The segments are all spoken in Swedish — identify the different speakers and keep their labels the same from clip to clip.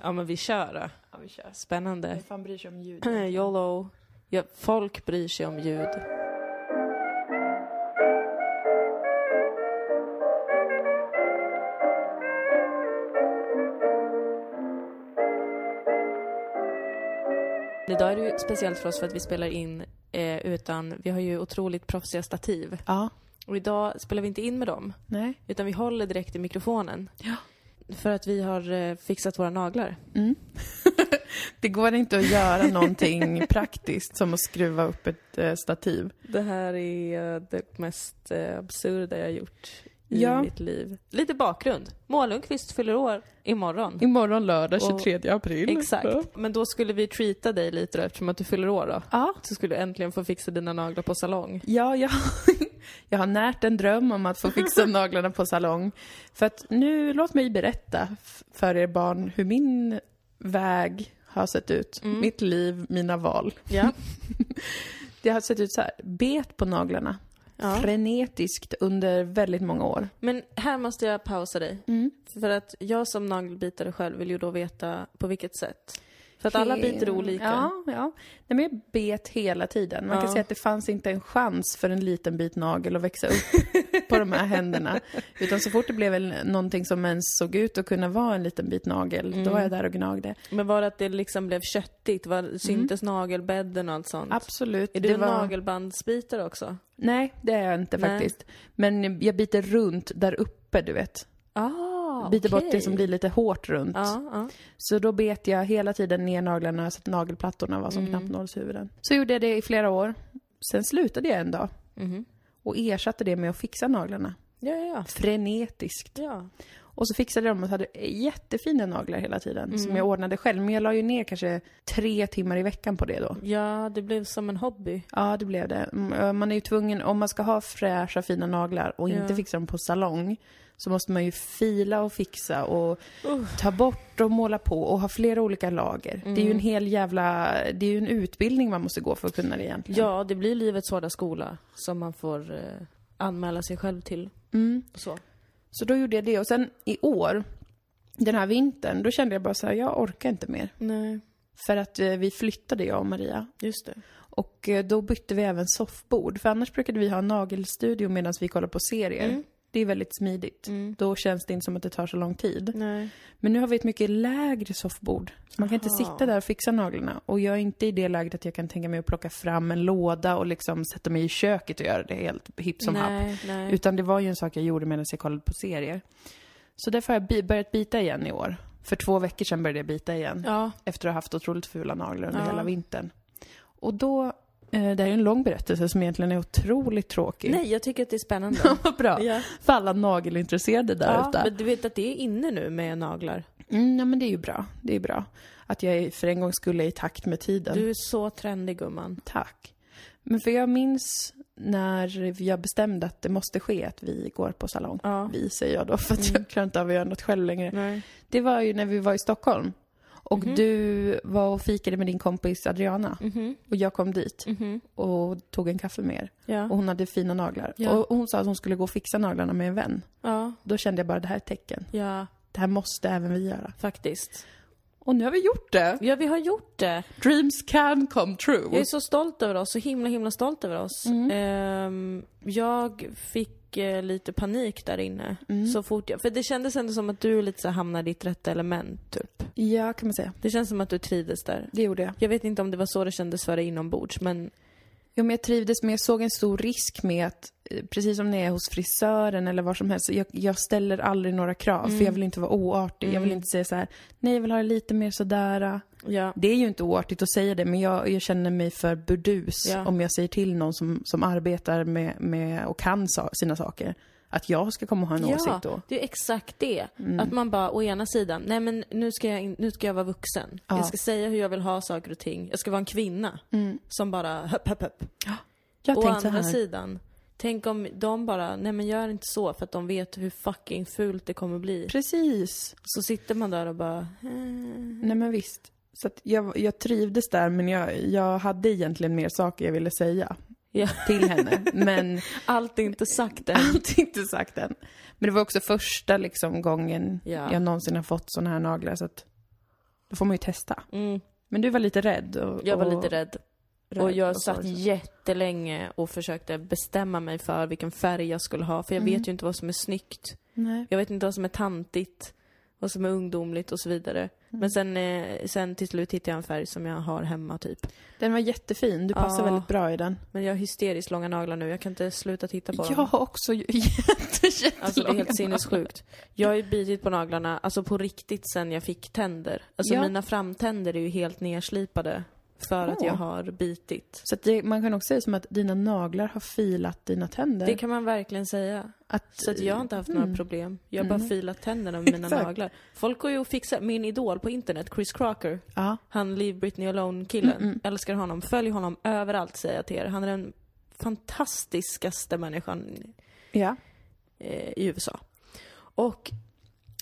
Speaker 1: Ja men vi kör då.
Speaker 2: Ja, vi kör.
Speaker 1: Spännande.
Speaker 2: Vem fan bryr sig om ljud?
Speaker 1: YOLO. Ja, folk bryr sig om ljud. Idag är det ju speciellt för oss för att vi spelar in eh, utan, vi har ju otroligt proffsiga stativ.
Speaker 2: Ja.
Speaker 1: Och idag spelar vi inte in med dem,
Speaker 2: Nej.
Speaker 1: utan vi håller direkt i mikrofonen.
Speaker 2: Ja.
Speaker 1: För att vi har eh, fixat våra naglar.
Speaker 2: Mm. det går inte att göra någonting praktiskt som att skruva upp ett eh, stativ.
Speaker 1: Det här är eh, det mest eh, absurda jag har gjort i
Speaker 2: Ja.
Speaker 1: mitt liv. Lite bakgrund. Moa Lundqvist fyller år imorgon.
Speaker 2: Imorgon lördag
Speaker 1: Och-
Speaker 2: 23 april. Ja.
Speaker 1: Exakt. Men då skulle vi treata dig lite då, eftersom att du fyller år då.
Speaker 2: Ja.
Speaker 1: Så skulle du äntligen få fixa dina naglar på salong.
Speaker 2: Ja, jag, jag har närt en dröm om att få fixa naglarna på salong. För att nu, låt mig berätta f- för er barn hur min väg har sett ut.
Speaker 1: Mm.
Speaker 2: Mitt liv, mina val.
Speaker 1: Ja.
Speaker 2: Det har sett ut så här, bet på naglarna. Frenetiskt under väldigt många år.
Speaker 1: Men här måste jag pausa dig.
Speaker 2: Mm.
Speaker 1: För att jag som nagelbitare själv vill ju då veta på vilket sätt. För att alla biter olika.
Speaker 2: Ja, ja. Nej, men jag bet hela tiden. Man kan
Speaker 1: Ja.
Speaker 2: säga att det fanns inte en chans för en liten bit nagel att växa upp på de här händerna. Utan så fort det blev väl någonting som ens såg ut att kunna vara en liten bit nagel, då var jag
Speaker 1: Mm.
Speaker 2: där och gnagde.
Speaker 1: Men var det att det liksom blev köttigt? Var, syntes nagelbädden och allt sånt?
Speaker 2: Absolut.
Speaker 1: Är du
Speaker 2: det var...
Speaker 1: nagelbandsbitare också?
Speaker 2: Nej, det är jag inte
Speaker 1: Nej.
Speaker 2: faktiskt. Men jag biter runt där uppe, du vet.
Speaker 1: Ah,
Speaker 2: Biter bort det som blir lite hårt runt.
Speaker 1: Ja, ja.
Speaker 2: Så då bet jag hela tiden ner naglarna så att nagelplattorna var
Speaker 1: Mm.
Speaker 2: som knappnålshuvuden. Så gjorde jag det i flera år. Sen slutade jag en dag.
Speaker 1: Mhm.
Speaker 2: och ersatte det med att fixa naglarna.
Speaker 1: ja, ja, ja.
Speaker 2: Frenetiskt.
Speaker 1: ja.
Speaker 2: Och så fixade jag dem och hade jättefina naglar hela tiden som jag ordnade själv. Men jag la ju ner kanske tre timmar i veckan på det då.
Speaker 1: Ja, det blev som en hobby.
Speaker 2: Ja, det blev det. Mm, Man är ju tvungen, om man ska ha fräscha fina naglar och inte
Speaker 1: Ja.
Speaker 2: fixa dem på salong så måste man ju fila och fixa och ta bort och måla på och ha flera olika lager. Det är ju en hel jävla, det är ju en utbildning man måste gå för att kunna det egentligen.
Speaker 1: Ja, det blir livets hårda skola som man får eh, anmäla sig själv till.
Speaker 2: Mm.
Speaker 1: Så.
Speaker 2: Så då gjorde jag det och sen i år, den här vintern, då kände jag bara så här, jag orkar inte mer.
Speaker 1: Nej,
Speaker 2: För att eh, vi flyttade, jag och Maria.
Speaker 1: just det.
Speaker 2: Och eh, då bytte vi även soffbord. För annars brukade vi ha en nagelstudio medan vi kollar på serier.
Speaker 1: Mm.
Speaker 2: Det är väldigt smidigt. Då känns det inte som att det tar så lång tid.
Speaker 1: Nej.
Speaker 2: Men nu har vi ett mycket lägre soffbord. Så man kan inte
Speaker 1: Aha.
Speaker 2: sitta där och fixa naglarna. Och jag är inte i det läget att jag kan tänka mig att plocka fram en låda och liksom sätta mig i köket och göra det helt hipp som happ.
Speaker 1: nej, nej.
Speaker 2: Utan det var ju en sak jag gjorde medan jag kollade på serier. Så därför har jag bi- börjat bita igen i år. För två veckor sedan började jag bita igen.
Speaker 1: Ja,
Speaker 2: Efter att ha haft otroligt fula naglar under
Speaker 1: Ja.
Speaker 2: hela vintern. Och då, eh, det här är ju en lång berättelse som egentligen är otroligt tråkig.
Speaker 1: nej, jag tycker att det är spännande.
Speaker 2: Vad bra.
Speaker 1: ja.
Speaker 2: För alla nagelintresserade där
Speaker 1: Ja,
Speaker 2: ute.
Speaker 1: men du vet att det är inne nu med naglar.
Speaker 2: Mm, ja, men det är ju bra. Det är bra. Att jag är- för en gång skulle är i takt med tiden.
Speaker 1: Du är så trendig gumman.
Speaker 2: Tack. Men för jag minns när jag bestämde att det måste ske att vi går på salong.
Speaker 1: Ja. Mm.
Speaker 2: Vi säger jag då, för att jag klarar inte av att göra något själv längre.
Speaker 1: Nej.
Speaker 2: Det var ju när vi var i Stockholm. Och du var och fikade med din kompis Adriana.
Speaker 1: Mhm,
Speaker 2: Och jag kom dit och tog en kaffe med er. Och
Speaker 1: Ja.
Speaker 2: hon hade fina naglar.
Speaker 1: Ja.
Speaker 2: Och hon sa att hon skulle gå och fixa naglarna med en vän.
Speaker 1: ja,
Speaker 2: Då kände jag bara det här är ett tecken.
Speaker 1: ja,
Speaker 2: Det här måste även vi göra.
Speaker 1: faktiskt.
Speaker 2: Och nu har vi gjort det!
Speaker 1: Ja, vi har gjort det.
Speaker 2: Dreams can come true.
Speaker 1: Jag är så stolt över oss, så himla himla stolt över oss.
Speaker 2: Mm.
Speaker 1: Ehm, jag fick eh, lite panik där inne
Speaker 2: Mm.
Speaker 1: så fort jag... För det kändes ändå som att du lite så här hamnade i ditt rätta element, typ.
Speaker 2: Ja, kan man säga.
Speaker 1: Det känns som att du trivdes där.
Speaker 2: Det gjorde jag.
Speaker 1: Jag vet inte om det var så det kändes för dig inombords, men...
Speaker 2: Jo, men jag trivdes, men jag såg en stor risk med att, eh, precis som när jag är hos frisören eller var som helst, jag, jag ställer aldrig några krav för jag vill inte vara oartig. Jag vill inte säga så här, nej jag vill ha det lite mer sådär. ah."
Speaker 1: Ja.
Speaker 2: Det är ju inte oartigt att säga det, men jag, jag känner mig för burdus
Speaker 1: Ja.
Speaker 2: om jag säger till någon som, som arbetar med, med och kan sa, sina saker, att jag ska komma och ha en åsikt då. Mm.
Speaker 1: det är exakt det. Att man bara, å ena sidan, nej men nu ska jag, in, nu ska jag vara vuxen. Jag ska säga hur jag vill ha saker och ting. Jag ska vara en kvinna
Speaker 2: Mm.
Speaker 1: som bara, höpp, höpp, höpp.
Speaker 2: Jag
Speaker 1: Å
Speaker 2: har tänkt så
Speaker 1: andra
Speaker 2: här.
Speaker 1: sidan, tänk om de bara, nej men gör inte så för att de vet hur fucking fult det kommer bli.
Speaker 2: Precis.
Speaker 1: Så sitter man där och bara, eh.
Speaker 2: Nej men visst. Så att jag, jag trivdes där, men jag, jag hade egentligen mer saker jag ville säga
Speaker 1: ja.
Speaker 2: till henne. men
Speaker 1: allt är inte sagt än.
Speaker 2: Allt är inte sagt än. Men det var också första liksom, gången
Speaker 1: Ja.
Speaker 2: jag någonsin har fått såna här naglar så att Då får man ju testa.
Speaker 1: Mm.
Speaker 2: Men du var lite rädd. Och,
Speaker 1: Jag var
Speaker 2: och,
Speaker 1: lite rädd.
Speaker 2: rädd
Speaker 1: och jag
Speaker 2: så,
Speaker 1: satt
Speaker 2: så.
Speaker 1: jättelänge och försökte bestämma mig för vilken färg jag skulle ha. För jag
Speaker 2: Mm.
Speaker 1: vet ju inte vad som är snyggt.
Speaker 2: Nej.
Speaker 1: Jag vet inte vad som är tantigt. Vad som är ungdomligt och så vidare.
Speaker 2: Mm.
Speaker 1: Men sen, eh, sen till slut hittade jag en färg som jag har hemma typ.
Speaker 2: Den var jättefin. Du passar
Speaker 1: Ja.
Speaker 2: väldigt bra i den.
Speaker 1: Men jag har hysteriskt långa naglar nu. Jag kan inte sluta titta på
Speaker 2: Jag
Speaker 1: dem.
Speaker 2: har också ju- jätte, jättelånga
Speaker 1: Alltså det är helt
Speaker 2: naglar.
Speaker 1: sinnessjukt. Jag har ju bitit på naglarna, alltså på riktigt sen jag fick tänder. Alltså
Speaker 2: Ja.
Speaker 1: mina framtänder är ju helt nerslipade för att
Speaker 2: Åh.
Speaker 1: jag har bitit.
Speaker 2: Så att det, man kan också säga som att dina naglar har filat dina tänder.
Speaker 1: Det kan man verkligen säga.
Speaker 2: att, Mm.
Speaker 1: Så att jag har inte haft några problem. Jag har bara filat tänderna med mina
Speaker 2: Exakt.
Speaker 1: naglar. Folk går ju och fixar, min idol på internet, Chris Crocker,
Speaker 2: Ja.
Speaker 1: han Leave Britney Alone-killen. Älskar honom, följ honom överallt säger jag till er. Han är den fantastiskaste människan
Speaker 2: ja.
Speaker 1: eh, i USA. Och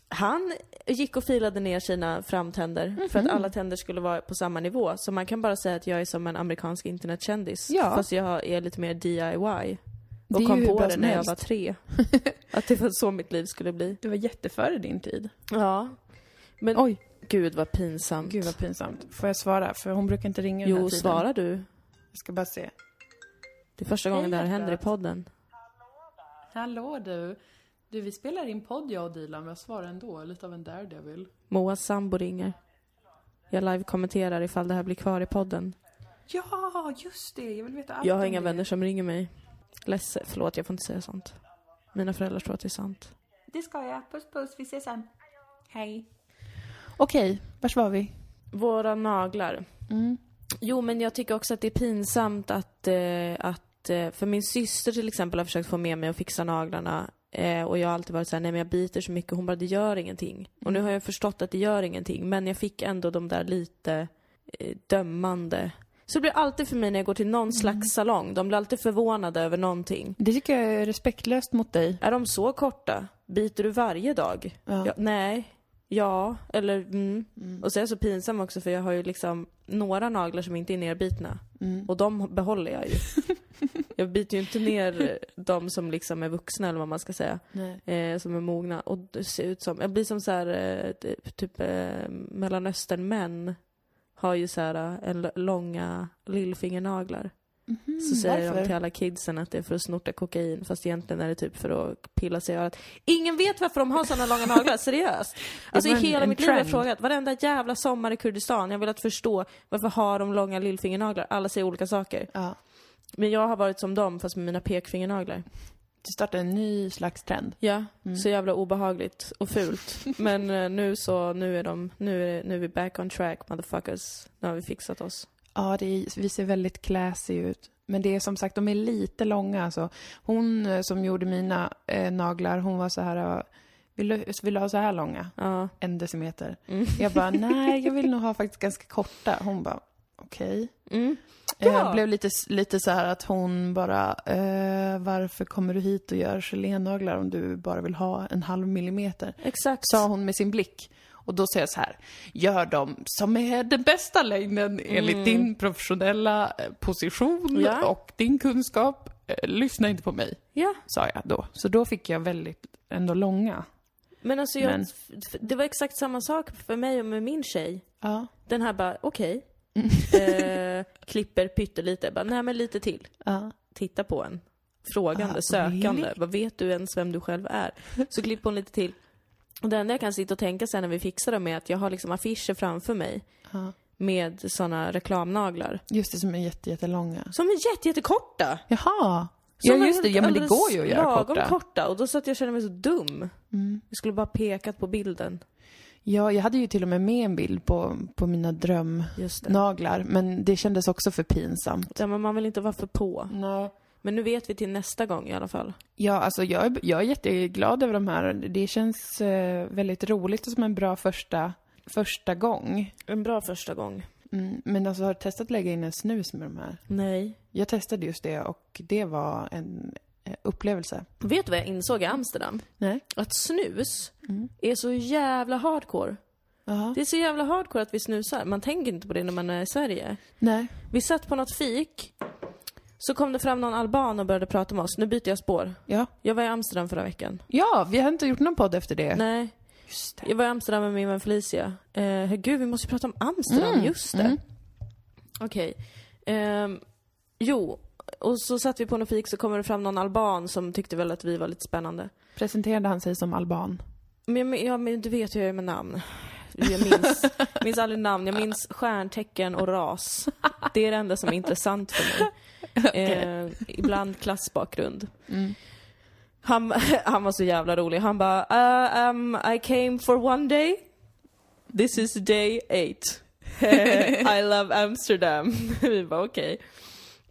Speaker 1: han gick och filade ner sina framtänder för
Speaker 2: Mhm.
Speaker 1: att alla tänder skulle vara på samma nivå. Så man kan bara säga att jag är som en amerikansk internetkändis.
Speaker 2: Ja.
Speaker 1: Fast jag är lite mer DIY.
Speaker 2: Det är
Speaker 1: Och kom
Speaker 2: ju hur
Speaker 1: på
Speaker 2: bra
Speaker 1: det
Speaker 2: som
Speaker 1: när jag
Speaker 2: helst.
Speaker 1: var tre. Att det var så mitt liv skulle bli.
Speaker 2: Det var jätteföre din tid.
Speaker 1: Ja. Men
Speaker 2: Oj,
Speaker 1: gud vad pinsamt.
Speaker 2: gud vad pinsamt. Får jag svara? För hon brukar inte ringa den här
Speaker 1: jo,
Speaker 2: tiden.
Speaker 1: svarar du?
Speaker 2: Jag ska bara se.
Speaker 1: Det är första gången det här händer i
Speaker 2: hjärtat.
Speaker 1: podden.
Speaker 2: Hallå du. Du, vi spelar in podd jag och Dilan, men jag svarar ändå. Lite av en daredevil.
Speaker 1: Moas sambo ringer. Jag live-kommenterar ifall det här blir kvar i podden.
Speaker 2: Ja, just det. Jag vill veta allt
Speaker 1: Jag har
Speaker 2: om
Speaker 1: inga
Speaker 2: det.
Speaker 1: vänner som ringer mig. Ledsen, förlåt jag får inte säga sånt. Mina föräldrar tror att det är sant.
Speaker 3: Det ska jag. Puss puss, vi ses sen. Hej.
Speaker 2: Okej, vars var vi?
Speaker 1: Våra naglar.
Speaker 2: Mm.
Speaker 1: Jo men jag tycker också att det är pinsamt att, eh, att eh, för min syster till exempel har försökt få med mig att fixa naglarna eh, och jag har alltid varit såhär, nej men jag biter så mycket, hon bara det gör ingenting. Och nu har jag förstått att det gör ingenting men jag fick ändå de där lite eh, dömande. Så det blir alltid för mig när jag går till någon slags salong, de blir alltid förvånade över någonting.
Speaker 2: Det tycker jag är respektlöst mot dig.
Speaker 1: Är de så korta? Biter du varje dag?
Speaker 2: Ja.
Speaker 1: Ja, nej. Ja, eller mm. Och så är jag så pinsam också för jag har ju liksom några naglar som inte är nerbitna.
Speaker 2: Mm.
Speaker 1: Och de behåller jag ju. jag biter ju inte ner de som liksom är vuxna eller vad man ska säga.
Speaker 2: Nej.
Speaker 1: Eh, som är mogna. Och det ser ut som, jag blir som så här, eh, typ- typ eh, mellanösternmän har ju så här eh, en l- långa lillfingernaglar. Så säger
Speaker 2: Mhm, varför?
Speaker 1: de till alla kidsen att det är för att snorta kokain fast egentligen är det typ för att pilla sig i örat. Ingen vet varför de har sådana långa naglar, seriöst. Alltså i
Speaker 2: var en-
Speaker 1: hela
Speaker 2: en
Speaker 1: mitt liv har jag
Speaker 2: trend.
Speaker 1: frågat, varenda jävla sommar i Kurdistan, jag har velat förstå varför har de långa lillfingernaglar? Alla säger olika saker.
Speaker 2: Ja.
Speaker 1: Men jag har varit som dem fast med mina pekfingernaglar. Mm.
Speaker 2: Du startar en ny slags trend.
Speaker 1: Ja, så jävla obehagligt och fult. Men eh, nu så, nu är de, nu är, nu är vi back on track motherfuckers. Nu har vi fixat oss.
Speaker 2: Ja, det är, vi ser väldigt classy ut. Men det är som sagt, de är lite långa alltså. Hon eh, som gjorde mina eh, naglar, hon var så här, eh, vill du, vill du ha så här långa?
Speaker 1: Ja.
Speaker 2: En decimeter.
Speaker 1: Mm.
Speaker 2: Jag bara, nej, jag vill nog ha faktiskt ganska korta. Hon bara, okej.
Speaker 1: Mm. Ja.
Speaker 2: Eh, blev lite, lite så här att hon bara, eh, varför kommer du hit och gör gelénaglar om du bara vill ha en halv millimeter?
Speaker 1: Exakt.
Speaker 2: sa hon med sin blick. Och då säger jag så här, gör dem som är den bästa längden enligt din professionella eh, position
Speaker 1: Ja.
Speaker 2: och din kunskap. Eh, Lyssna inte på mig,
Speaker 1: Ja.
Speaker 2: sa jag då. Så då fick jag väldigt, ändå långa.
Speaker 1: Men alltså jag,
Speaker 2: Men-
Speaker 1: f- det var exakt samma sak för mig och med min tjej.
Speaker 2: Ja.
Speaker 1: Den här bara, okej. eh, klipper pyttelite, bara, nej men lite till.
Speaker 2: ja.
Speaker 1: Titta på en. Frågande,
Speaker 2: Ah,
Speaker 1: sökande.
Speaker 2: really?
Speaker 1: Vad vet du ens vem du själv är? Så klipper hon lite till. Och det enda jag kan sitta och tänka sen när vi fixar dem är att jag har liksom affischer framför mig.
Speaker 2: Ja.
Speaker 1: Med såna reklamnaglar.
Speaker 2: Just det, som är jätte, jättelånga.
Speaker 1: Som är jätte, jättekorta.
Speaker 2: Jaha!
Speaker 1: Som
Speaker 2: ja,
Speaker 1: är
Speaker 2: just det.
Speaker 1: helt
Speaker 2: Ja, men det
Speaker 1: alldeles
Speaker 2: går ju att göra
Speaker 1: lagom
Speaker 2: korta. Mm.
Speaker 1: korta. Och då satt jag och kände mig så dum. Jag skulle bara pekat på bilden.
Speaker 2: Ja, jag hade ju till och med med en bild på, på mina
Speaker 1: Just det.
Speaker 2: drömnaglar, men det kändes också för pinsamt.
Speaker 1: Ja, men man vill inte vara för på.
Speaker 2: Nej.
Speaker 1: Men nu vet vi till nästa gång i alla fall.
Speaker 2: Ja, alltså jag är, jag är jätteglad över de här. Det känns eh, väldigt roligt och som en bra första, första gång.
Speaker 1: En bra första gång.
Speaker 2: Mm, men alltså har du testat att lägga in en snus med de här?
Speaker 1: Nej.
Speaker 2: Jag testade just det och det var en eh, upplevelse.
Speaker 1: Vet du vad jag insåg i Amsterdam?
Speaker 2: Nej.
Speaker 1: Att snus
Speaker 2: Mm.
Speaker 1: är så jävla hardcore.
Speaker 2: Jaha.
Speaker 1: Det är så jävla hardcore att vi snusar. Man tänker inte på det när man är i Sverige.
Speaker 2: Nej.
Speaker 1: Vi satt på något fik. Så kom det fram någon alban och började prata med oss. Nu byter jag spår.
Speaker 2: Ja.
Speaker 1: Jag var i Amsterdam förra veckan.
Speaker 2: Ja, vi har inte gjort någon podd efter det.
Speaker 1: Nej.
Speaker 2: Just det.
Speaker 1: Jag var i Amsterdam med min vän Felicia. Eh, herregud, vi måste ju prata om Amsterdam,
Speaker 2: Mm,
Speaker 1: just det.
Speaker 2: mm.
Speaker 1: Okej. Ehm, jo, och så satt vi på något fik så kommer det fram någon alban som tyckte väl att vi var lite spännande.
Speaker 2: Presenterade han sig som alban?
Speaker 1: Men, men, ja, men du vet hur jag är med namn. Jag minns, minns aldrig namn, jag minns stjärntecken och ras. Det är det enda som är intressant för mig. Eh, ibland klassbakgrund.
Speaker 2: Mm.
Speaker 1: Han, han var så jävla rolig. Han bara uh, um, I came for one day. This is day eight. I love Amsterdam. Vi bara okej.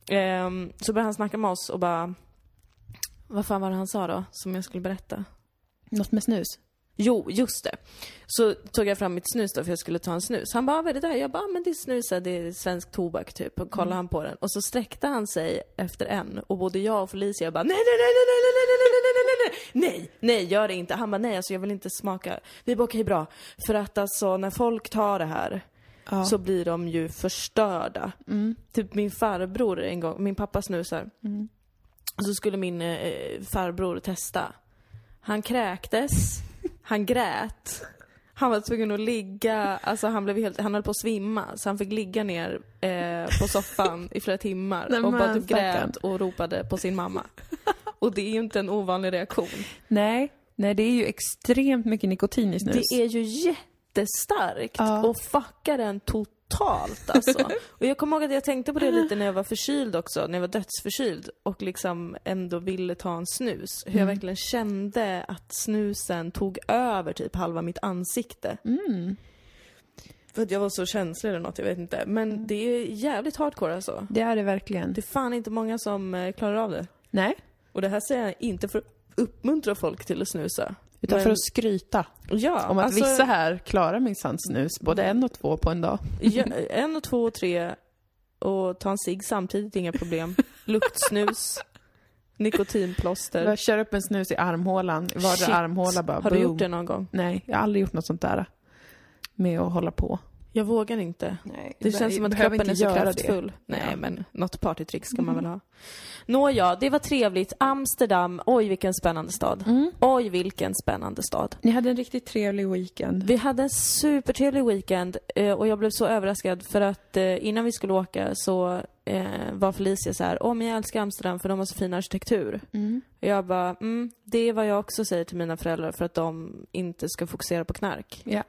Speaker 1: Ehm, så började han snacka med oss och bara Vad fan var det han sa då som jag skulle berätta?
Speaker 2: Något med snus?
Speaker 1: Jo, just det. Så tog jag fram mitt snus då för jag skulle ta en snus. Han bara, vad är det där? Jag bara, "Ah, men det är snus, här, det är svensk tobak typ. Och kollade han på den och så sträckte han sig efter en och både jag och Felicia bara, nej, nej, nej, nej, nej, nej, nej, nej, nej, nej, nej, nej, nej, gör det inte. Han bara, nej, alltså jag vill inte smaka. Vi bara, okej, bra. För att alltså när folk tar det här
Speaker 2: Ja. Mm.
Speaker 1: så blir de ju förstörda. Typ min farbror en gång, min pappa snusar. Och så skulle min eh, farbror testa. Han kräktes, han grät. Han var tvungen att ligga, alltså han, blev helt, han höll på att svimma så han fick ligga ner eh, på soffan i flera timmar
Speaker 2: Nej,
Speaker 1: och bara
Speaker 2: men
Speaker 1: typ grät
Speaker 2: stackarn.
Speaker 1: och ropade på sin mamma. Och det är ju inte en ovanlig reaktion.
Speaker 2: Nej. Nej, det är ju extremt mycket nikotin i snus.
Speaker 1: Det är ju jättestarkt
Speaker 2: Ja.
Speaker 1: och fuckar en totalt alltså. och jag kommer ihåg att jag tänkte på det lite när jag var förkyld också, när jag var dödsförkyld och liksom ändå ville ta en snus. Hur jag
Speaker 2: Mm.
Speaker 1: verkligen kände att snusen tog över typ halva mitt ansikte. Mm. För att jag var så känslig eller något, jag vet inte. Men
Speaker 2: Mm.
Speaker 1: det är jävligt hardcore alltså.
Speaker 2: Det är det verkligen.
Speaker 1: Det är fan inte många som eh, klarar av det.
Speaker 2: Nej.
Speaker 1: Och det här säger jag inte för att uppmuntra folk till att snusa.
Speaker 2: Utan
Speaker 1: Men-
Speaker 2: för att skryta
Speaker 1: Ja,
Speaker 2: om att
Speaker 1: alltså-
Speaker 2: vissa här klarar minsann snus, både en och två på en dag.
Speaker 1: Ja, en och två och tre och ta en cigg samtidigt, inga problem. Luktsnus, nikotinplåster.
Speaker 2: Jag kör upp en snus i armhålan, i vardera
Speaker 1: Shit.
Speaker 2: armhåla bara.
Speaker 1: Har du
Speaker 2: boom.
Speaker 1: gjort det någon gång?
Speaker 2: Nej, jag har aldrig gjort något sånt där. Med att hålla på.
Speaker 1: Jag vågar inte.
Speaker 2: Nej,
Speaker 1: Det känns som att kroppen är så kraftfull. Nej,
Speaker 2: Ja.
Speaker 1: men något partytrick ska man väl ha. Nåja, det var trevligt. Amsterdam, oj vilken spännande stad. Oj vilken spännande stad.
Speaker 2: Mm. Ni hade en riktigt trevlig weekend.
Speaker 1: Vi hade en supertrevlig weekend eh, och jag blev så överraskad för att eh, innan vi skulle åka så eh, var Felicia så här, åh men jag älskar Amsterdam för de har så fin arkitektur. Och jag bara, mm, det är vad jag också säger till mina föräldrar för att de inte ska fokusera på knark.
Speaker 2: Ja.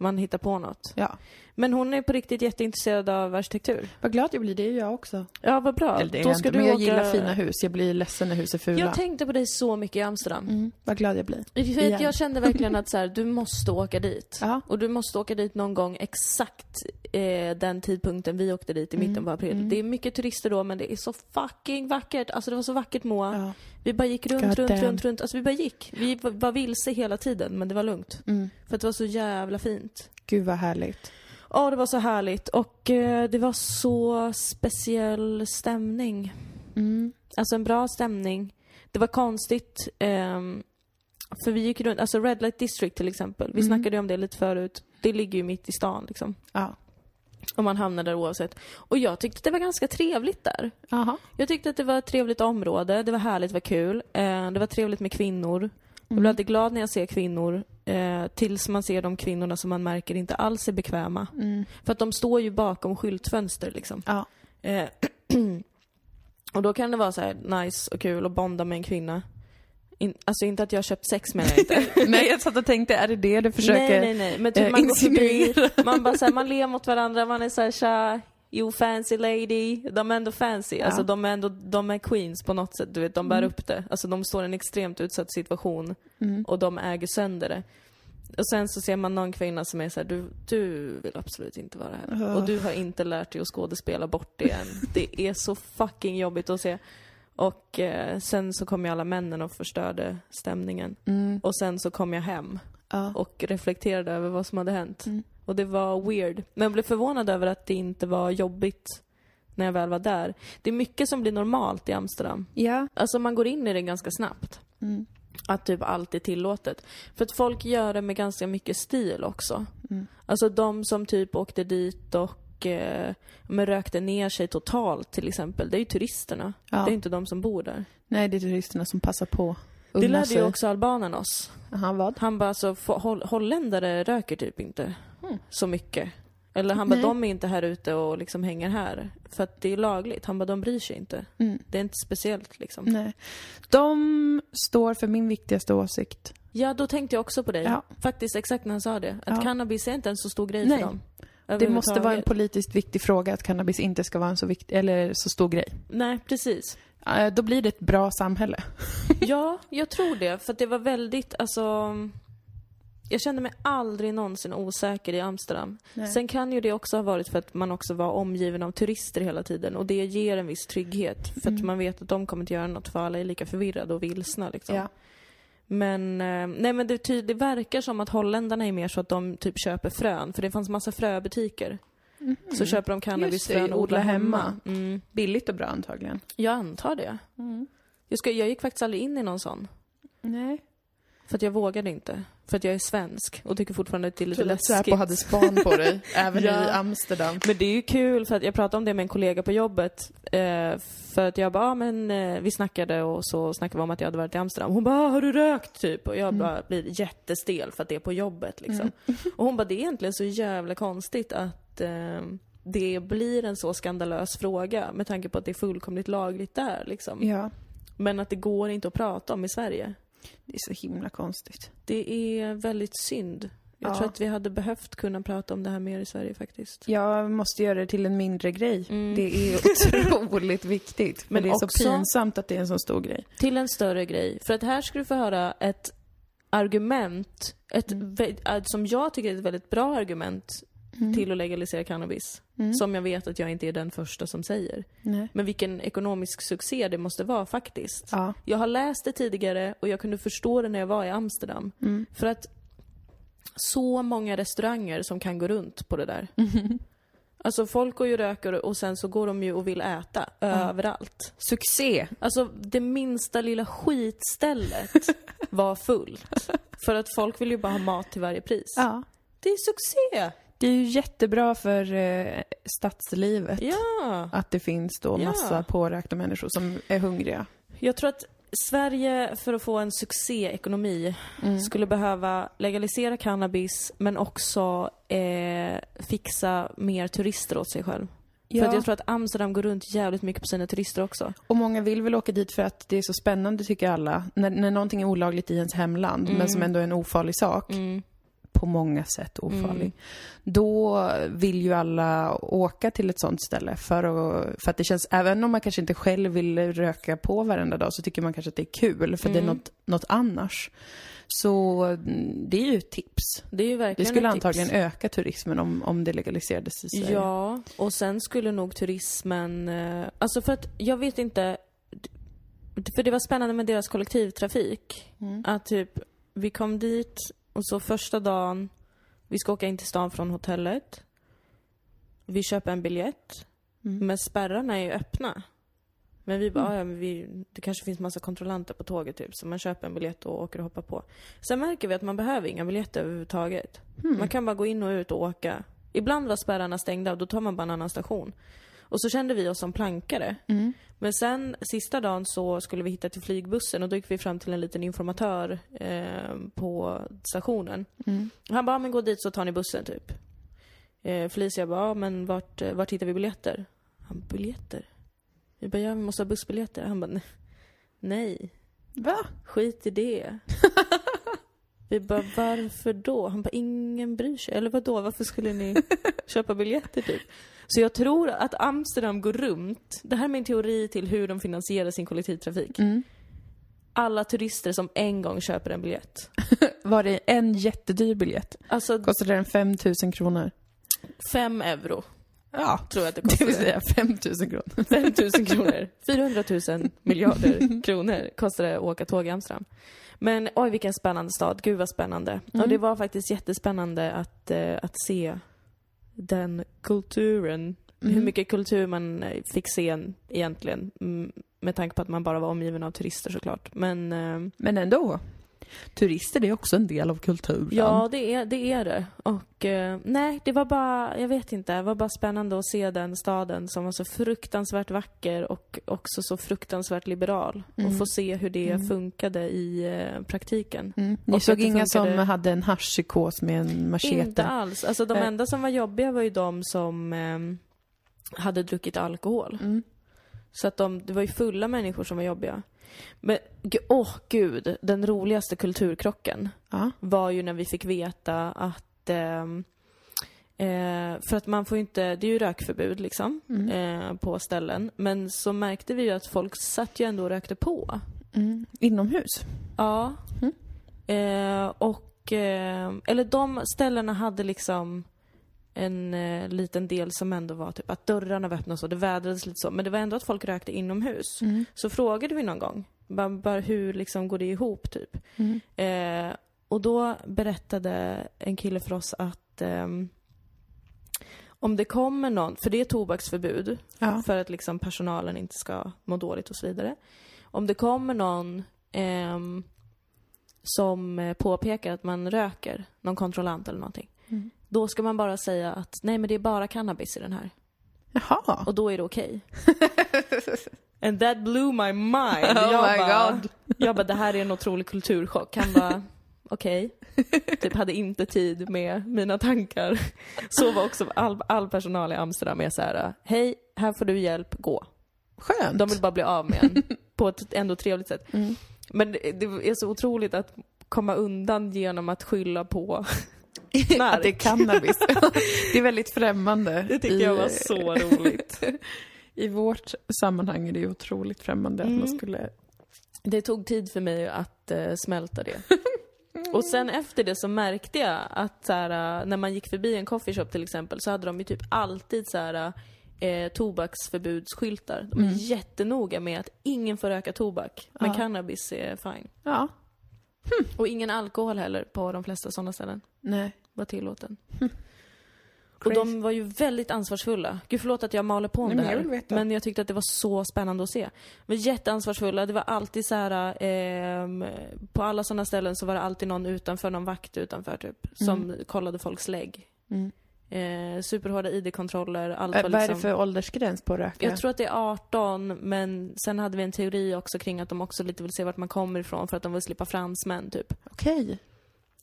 Speaker 1: Man hittar på något.
Speaker 2: ja.
Speaker 1: Men hon är på riktigt jätteintresserad av arkitektur.
Speaker 2: Vad glad jag blir, det är jag också.
Speaker 1: Ja, vad bra.
Speaker 2: Eller det är jag inte, men jag gillar fina hus. Jag blir ledsen när hus är fula.
Speaker 1: Jag tänkte på dig så mycket i Amsterdam.
Speaker 2: mm, vad glad jag blir.
Speaker 1: För att
Speaker 2: Igen.
Speaker 1: jag kände verkligen att så här, du måste åka dit.
Speaker 2: Ja.
Speaker 1: Och du måste åka dit någon gång exakt eh, den tidpunkten vi åkte dit i
Speaker 2: Mm.
Speaker 1: mitten på april. Det är mycket turister då men det är så fucking vackert. Alltså det var så vackert Moa.
Speaker 2: Ja.
Speaker 1: Vi bara gick runt,
Speaker 2: God
Speaker 1: runt,
Speaker 2: damn.
Speaker 1: runt, runt. Alltså vi bara gick. Vi var- var vilse hela tiden men det var lugnt.
Speaker 2: Mm.
Speaker 1: För att det var så jävla fint.
Speaker 2: Gud vad härligt.
Speaker 1: Ja, det var så härligt och eh, det var så speciell stämning.
Speaker 2: Mm.
Speaker 1: Alltså en bra stämning. Det var konstigt. ehm, för vi gick runt, alltså Red Light District till exempel. Vi
Speaker 2: Mm.
Speaker 1: snackade ju om det lite förut. Det ligger ju mitt i stan liksom.
Speaker 2: Ja.
Speaker 1: Och man hamnar där oavsett. Och jag tyckte att det var ganska trevligt där.
Speaker 2: Aha.
Speaker 1: Jag tyckte att det var ett trevligt område. Det var härligt, det var kul. Eh, det var trevligt med kvinnor. Jag
Speaker 2: Mm.
Speaker 1: blir alltid glad när jag ser kvinnor. Eh, tills man ser de kvinnorna som man märker inte alls är bekväma.
Speaker 2: Mm.
Speaker 1: För att de står ju bakom skyltfönster liksom.
Speaker 2: Ja.
Speaker 1: Eh, och då kan det vara så här nice och kul att bonda med en kvinna. In, alltså inte att jag har köpt sex menar jag inte.
Speaker 2: Nej, jag satt och tänkte, är det det du
Speaker 1: nej,
Speaker 2: försöker?
Speaker 1: nej, nej. Men typ
Speaker 2: eh,
Speaker 1: man går förbi,
Speaker 2: insinuera.
Speaker 1: man bara så här, man ler mot varandra, man är så här tja, you fancy lady. De är ändå fancy. Alltså
Speaker 2: Ja.
Speaker 1: de är ändå, de är queens på något sätt. Du vet, de bär upp det. Alltså de står i en extremt utsatt situation
Speaker 2: Mm.
Speaker 1: och de äger sönder det. Och sen så ser man någon kvinna som är så här, du, du vill absolut inte vara här.
Speaker 2: Ugh.
Speaker 1: Och du har inte lärt dig att skådespela bort det än. Det är så fucking jobbigt att se. Och eh, sen så kom ju alla männen och förstörde stämningen.
Speaker 2: Mm.
Speaker 1: Och sen så kom jag hem
Speaker 2: Ja.
Speaker 1: och reflekterade över vad som hade hänt.
Speaker 2: Mm.
Speaker 1: Och det var weird. Men jag blev förvånad över att det inte var jobbigt när jag väl var där. Det är mycket som blir normalt i Amsterdam.
Speaker 2: ja.
Speaker 1: Alltså man går in i det ganska snabbt.
Speaker 2: Mm.
Speaker 1: Att typ allt är tillåtet. För att folk gör det med ganska mycket stil också.
Speaker 2: Mm.
Speaker 1: Alltså de som typ åkte dit och eh, men rökte ner sig totalt till exempel. Det är ju turisterna.
Speaker 2: Ja.
Speaker 1: Det är inte de som bor där.
Speaker 2: Nej, det är turisterna som passar på.
Speaker 1: Det
Speaker 2: Unna
Speaker 1: lärde ju
Speaker 2: sig.
Speaker 1: också albanen oss.
Speaker 2: Aha, vad?
Speaker 1: Han bara, alltså, fo- holl- holländare röker typ inte
Speaker 2: Mm.
Speaker 1: så mycket. Eller han bara,
Speaker 2: Nej.
Speaker 1: de är inte här ute och liksom hänger här. För att det är lagligt. Han bara, de bryr sig inte.
Speaker 2: Mm.
Speaker 1: Det är inte speciellt liksom.
Speaker 2: Nej. De står för min viktigaste åsikt.
Speaker 1: Ja, då tänkte jag också på dig.
Speaker 2: Ja.
Speaker 1: Faktiskt exakt när han sa det. Att
Speaker 2: Ja.
Speaker 1: cannabis är inte en så stor grej
Speaker 2: Nej.
Speaker 1: för dem.
Speaker 2: Det måste vara en
Speaker 1: Överhuvudtaget.
Speaker 2: politiskt viktig fråga att cannabis inte ska vara en så, vikt, eller så stor grej.
Speaker 1: Nej, precis.
Speaker 2: Eh, Då blir det ett bra samhälle.
Speaker 1: Ja, jag tror det. För att det var väldigt, alltså... Jag kände mig aldrig någonsin osäker i Amsterdam. Sen kan ju det också ha varit för att man också var omgiven av turister hela tiden och det ger en viss trygghet. För att
Speaker 2: Mm.
Speaker 1: man vet att de kommer inte göra något för alla är lika förvirrade och vilsna liksom.
Speaker 2: Ja.
Speaker 1: Men, eh, nej men det, ty- det verkar som att holländarna är mer så att de typ köper frön, för det fanns massa fröbutiker.
Speaker 2: Mm.
Speaker 1: Så köper de cannabisfrön
Speaker 2: Just det,
Speaker 1: och odlar
Speaker 2: odla
Speaker 1: hemma.
Speaker 2: hemma.
Speaker 1: Mm.
Speaker 2: Billigt och bra antagligen.
Speaker 1: Jag antar det. Jag, ska, jag gick faktiskt aldrig in i någon sån.
Speaker 2: Mm. Nej.
Speaker 1: För att jag vågade inte. För att jag är svensk och tycker fortfarande att det är lite
Speaker 2: Lite lätt
Speaker 1: läskigt.
Speaker 2: Typ Säpo hade span på dig, även
Speaker 1: Ja.
Speaker 2: i Amsterdam.
Speaker 1: Men det är ju kul för att jag pratade om det med en kollega på jobbet. Eh, för att jag bara, ah, men eh, vi snackade och så snackade vi om att jag hade varit i Amsterdam. Hon bara, ah, har du rökt? Typ. Och jag bara blir jättestel för att det är på jobbet liksom. Och hon bara, det är egentligen så jävla konstigt att eh, det blir en så skandalös fråga med tanke på att det är fullkomligt lagligt där liksom.
Speaker 2: Ja.
Speaker 1: Men att det går inte att prata om i Sverige.
Speaker 2: Det är så himla konstigt.
Speaker 1: Det är väldigt synd. Jag
Speaker 2: Ja.
Speaker 1: tror att vi hade behövt kunna prata om det här mer i Sverige faktiskt.
Speaker 2: Jag måste göra det till en mindre grej.
Speaker 1: Mm.
Speaker 2: Det är otroligt viktigt. Men
Speaker 1: Men
Speaker 2: det är
Speaker 1: också-
Speaker 2: så pinsamt att det är en så stor grej.
Speaker 1: Till en större grej. För att här ska du få höra ett argument, ett, vä- äh, som jag tycker är ett väldigt bra argument
Speaker 2: Mm.
Speaker 1: till att legalisera cannabis. Som jag vet att jag inte är den första som säger.
Speaker 2: Nej.
Speaker 1: Men vilken ekonomisk succé det måste vara faktiskt.
Speaker 2: Ja.
Speaker 1: Jag har läst det tidigare och jag kunde förstå det när jag var i Amsterdam. För att så många restauranger som kan gå runt på det där. Alltså folk går ju och röker och sen så går de ju och vill äta överallt.
Speaker 2: Succé!
Speaker 1: Alltså det minsta lilla skitstället var fullt. För att folk vill ju bara ha mat till varje pris.
Speaker 2: Ja.
Speaker 1: Det är succé!
Speaker 2: Det är ju jättebra för eh, stadslivet.
Speaker 1: Ja!
Speaker 2: Att det finns då
Speaker 1: Ja.
Speaker 2: massa påräkta människor som är hungriga.
Speaker 1: Jag tror att Sverige, för att få en succéekonomi,
Speaker 2: Mm.
Speaker 1: skulle behöva legalisera cannabis men också eh, fixa mer turister åt sig själv. För att jag tror att Amsterdam går runt jävligt mycket på sina turister också.
Speaker 2: Och många vill väl åka dit för att det är så spännande tycker alla. När, när någonting är olagligt i ens hemland, men som ändå är en ofarlig sak. På många sätt ofarlig.
Speaker 1: Mm.
Speaker 2: Då vill ju alla åka till ett sånt ställe för, att, för att det känns, även om man kanske inte själv vill röka på varenda dag så tycker man kanske att det är kul för
Speaker 1: Mm.
Speaker 2: det är något, något annars. Så mm, det är ju ett tips.
Speaker 1: Det är ju verkligen
Speaker 2: Det skulle
Speaker 1: ett tips.
Speaker 2: antagligen öka turismen om, om det legaliserades i Sverige.
Speaker 1: Ja, och sen skulle nog turismen... eh, Alltså för att jag vet inte... d- För det var spännande med deras kollektivtrafik. Att typ, vi kom dit och så första dagen, vi ska åka in till stan från hotellet. Vi köper en biljett. Men spärrarna är ju öppna. Men vi bara, "Ah, ja, men vi, det kanske finns massa kontrollanter på tåget typ. Så man köper en biljett och åker och hoppar på. Sen märker vi att man behöver inga biljetter överhuvudtaget. Man kan bara gå in och ut och åka. Ibland var spärrarna stängda och då tar man bara en annan station. Och så kände vi oss som plankare. Men sen sista dagen så skulle vi hitta till flygbussen och då gick vi fram till en liten informatör eh, på stationen.
Speaker 2: Mm.
Speaker 1: Han bara, "Ja, men gå dit så tar ni bussen typ. Eh, Felicia bara, "Ja, men vart, eh, vart hittar vi biljetter? Han biljetter? Vi bara, ja vi måste ha bussbiljetter. Han bara, "Nej, nej,
Speaker 2: Va?
Speaker 1: skit i det. Vi bara, varför då? Han bara, ingen bryr sig. Eller vad då? varför skulle ni köpa biljetter typ? Så jag tror att Amsterdam går runt. Det här är min teori till hur de finansierar sin kollektivtrafik.
Speaker 2: Mm.
Speaker 1: Alla turister som en gång köper en biljett.
Speaker 2: Var det en jättedyr biljett?
Speaker 1: Alltså
Speaker 2: Kostade den 5 000 kronor?
Speaker 1: fem euro
Speaker 2: Ja,
Speaker 1: tror jag att det
Speaker 2: Det
Speaker 1: kostar.
Speaker 2: vill säga 5000 kronor.
Speaker 1: 5 000 kronor. 400 000 miljarder kronor kostar det att åka tåg i Amsterdam. Men oj vilken spännande stad. Gud vad spännande. Och det var faktiskt jättespännande att, eh, att se den kulturen.
Speaker 2: Mm.
Speaker 1: Hur mycket kultur man eh, fick se en- egentligen. Mm, med tanke på att man bara var omgiven av turister såklart. Men eh,
Speaker 2: Men ändå. Turister det är också en del av kulturen.
Speaker 1: Ja, det är det. Är det. Och eh, nej, det var bara, jag vet inte, det var bara spännande att se den staden som var så fruktansvärt vacker och också så fruktansvärt liberal. Och få se hur det funkade i eh, praktiken.
Speaker 2: Mm.
Speaker 1: Och
Speaker 2: Ni
Speaker 1: att
Speaker 2: såg
Speaker 1: det
Speaker 2: inga som
Speaker 1: funkade-
Speaker 2: hade en haschpsykos med en
Speaker 1: Inte
Speaker 2: machete?
Speaker 1: alls. Alltså de
Speaker 2: Nej.
Speaker 1: enda som var jobbiga var ju de som ehm, hade druckit alkohol.
Speaker 2: Mm.
Speaker 1: Så att de, det var ju fulla människor som var jobbiga. Men gu- åh gud, den roligaste kulturkrocken
Speaker 2: Ja.
Speaker 1: var ju när vi fick veta att ehm, eh, för att man får ju inte, det är ju rökförbud liksom
Speaker 2: Mm.
Speaker 1: eh, på ställen. Men så märkte vi ju att folk satt ju ändå och rökte på.
Speaker 2: Mm. Inomhus?
Speaker 1: Ja.
Speaker 2: Mm.
Speaker 1: Eh, och, eh, eller de ställena hade liksom en eh, liten del som ändå var typ att dörrarna var öppna och så, det vädrades lite så. Men det var ändå att folk rökte inomhus.
Speaker 2: Mm.
Speaker 1: Så frågade vi någon gång, bara, bara hur liksom går det ihop typ?
Speaker 2: Mm.
Speaker 1: Eh, och då berättade en kille för oss att ehm, om det kommer någon, för det är tobaksförbud,
Speaker 2: Ja.
Speaker 1: för att liksom personalen inte ska må dåligt och så vidare. Om det kommer någon ehm, som eh, påpekar att man röker, någon kontrollant eller någonting.
Speaker 2: Mm.
Speaker 1: Då ska man bara säga att nej men det är bara cannabis i den här.
Speaker 2: Jaha.
Speaker 1: Och då är det okej. And that blew my mind.
Speaker 2: Oh
Speaker 1: jag,
Speaker 2: my
Speaker 1: bara,
Speaker 2: God.
Speaker 1: jag bara, det här är en otrolig kulturchock. Han bara, okej. Typ hade inte tid med mina tankar. Så var också all, all personal i Amsterdam är så här, hej, här får du hjälp, gå.
Speaker 2: Skönt.
Speaker 1: De vill bara bli av med en på ett ändå trevligt sätt.
Speaker 2: Mm.
Speaker 1: Men det det är så otroligt att komma undan genom att skylla på knark.
Speaker 2: Att det är cannabis. det är väldigt främmande.
Speaker 1: Det tycker jag var så roligt.
Speaker 2: I vårt sammanhang är det ju otroligt främmande
Speaker 1: Mm.
Speaker 2: att man skulle...
Speaker 1: Det tog tid för mig att eh, smälta det. Och sen efter det så märkte jag att så här, eh, när man gick förbi en coffeeshop till exempel så hade de ju typ alltid så här, eh, tobaksförbudsskyltar. De är jättenoga med att ingen får röka tobak, men
Speaker 2: Mm. Ja.
Speaker 1: cannabis är fine.
Speaker 2: Ja.
Speaker 1: Och ingen alkohol heller på de flesta sådana ställen.
Speaker 2: Nej.
Speaker 1: var tillåten. Och
Speaker 2: Crazy.
Speaker 1: de var ju väldigt ansvarsfulla. Gud förlåt att jag maler på om det
Speaker 2: Nej, men
Speaker 1: här.
Speaker 2: jag vill veta.
Speaker 1: Men jag tyckte att det var så spännande att se. De var jätteansvarsfulla. Det var alltid så här, ehm, på alla sådana ställen så var det alltid någon utanför, någon vakt utanför typ, som kollade folks lägg.
Speaker 2: Mm.
Speaker 1: Eh, superhårda ID-kontroller, allt
Speaker 2: Eh,
Speaker 1: var
Speaker 2: vad
Speaker 1: liksom...
Speaker 2: är det för åldersgräns på att röka?
Speaker 1: Jag tror att det är 18, men sen hade vi en teori också kring att de också lite vill se vart man kommer ifrån för att de vill slippa fransmän typ.
Speaker 2: Okej.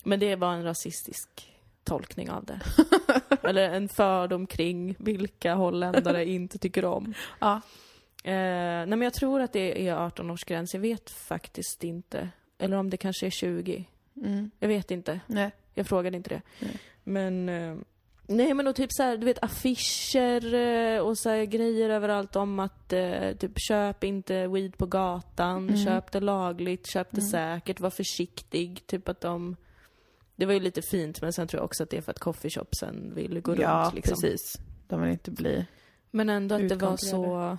Speaker 1: Men det var en rasistisk tolkning av det. Eller en fördom kring vilka holländare inte tycker om.
Speaker 2: Ja.
Speaker 1: Eh, nej men jag tror att det är 18-årsgräns. Jag vet faktiskt inte. Eller om det kanske är 20.
Speaker 2: Mm.
Speaker 1: Jag vet inte.
Speaker 2: Nej.
Speaker 1: Jag frågade inte det.
Speaker 2: Nej.
Speaker 1: Men... Eh, nej men och typ så här, du vet affischer eh, och så här grejer överallt om att eh, typ köp inte weed på gatan,
Speaker 2: Mm.
Speaker 1: köp det lagligt, köp det säkert, var försiktig. Typ att de... Det var ju lite fint men sen tror jag också att det är för att coffeeshopsen vill gå
Speaker 2: ja,
Speaker 1: runt liksom.
Speaker 2: precis. De vill inte bli...
Speaker 1: Men ändå att det var så...
Speaker 2: Utkontrollerade.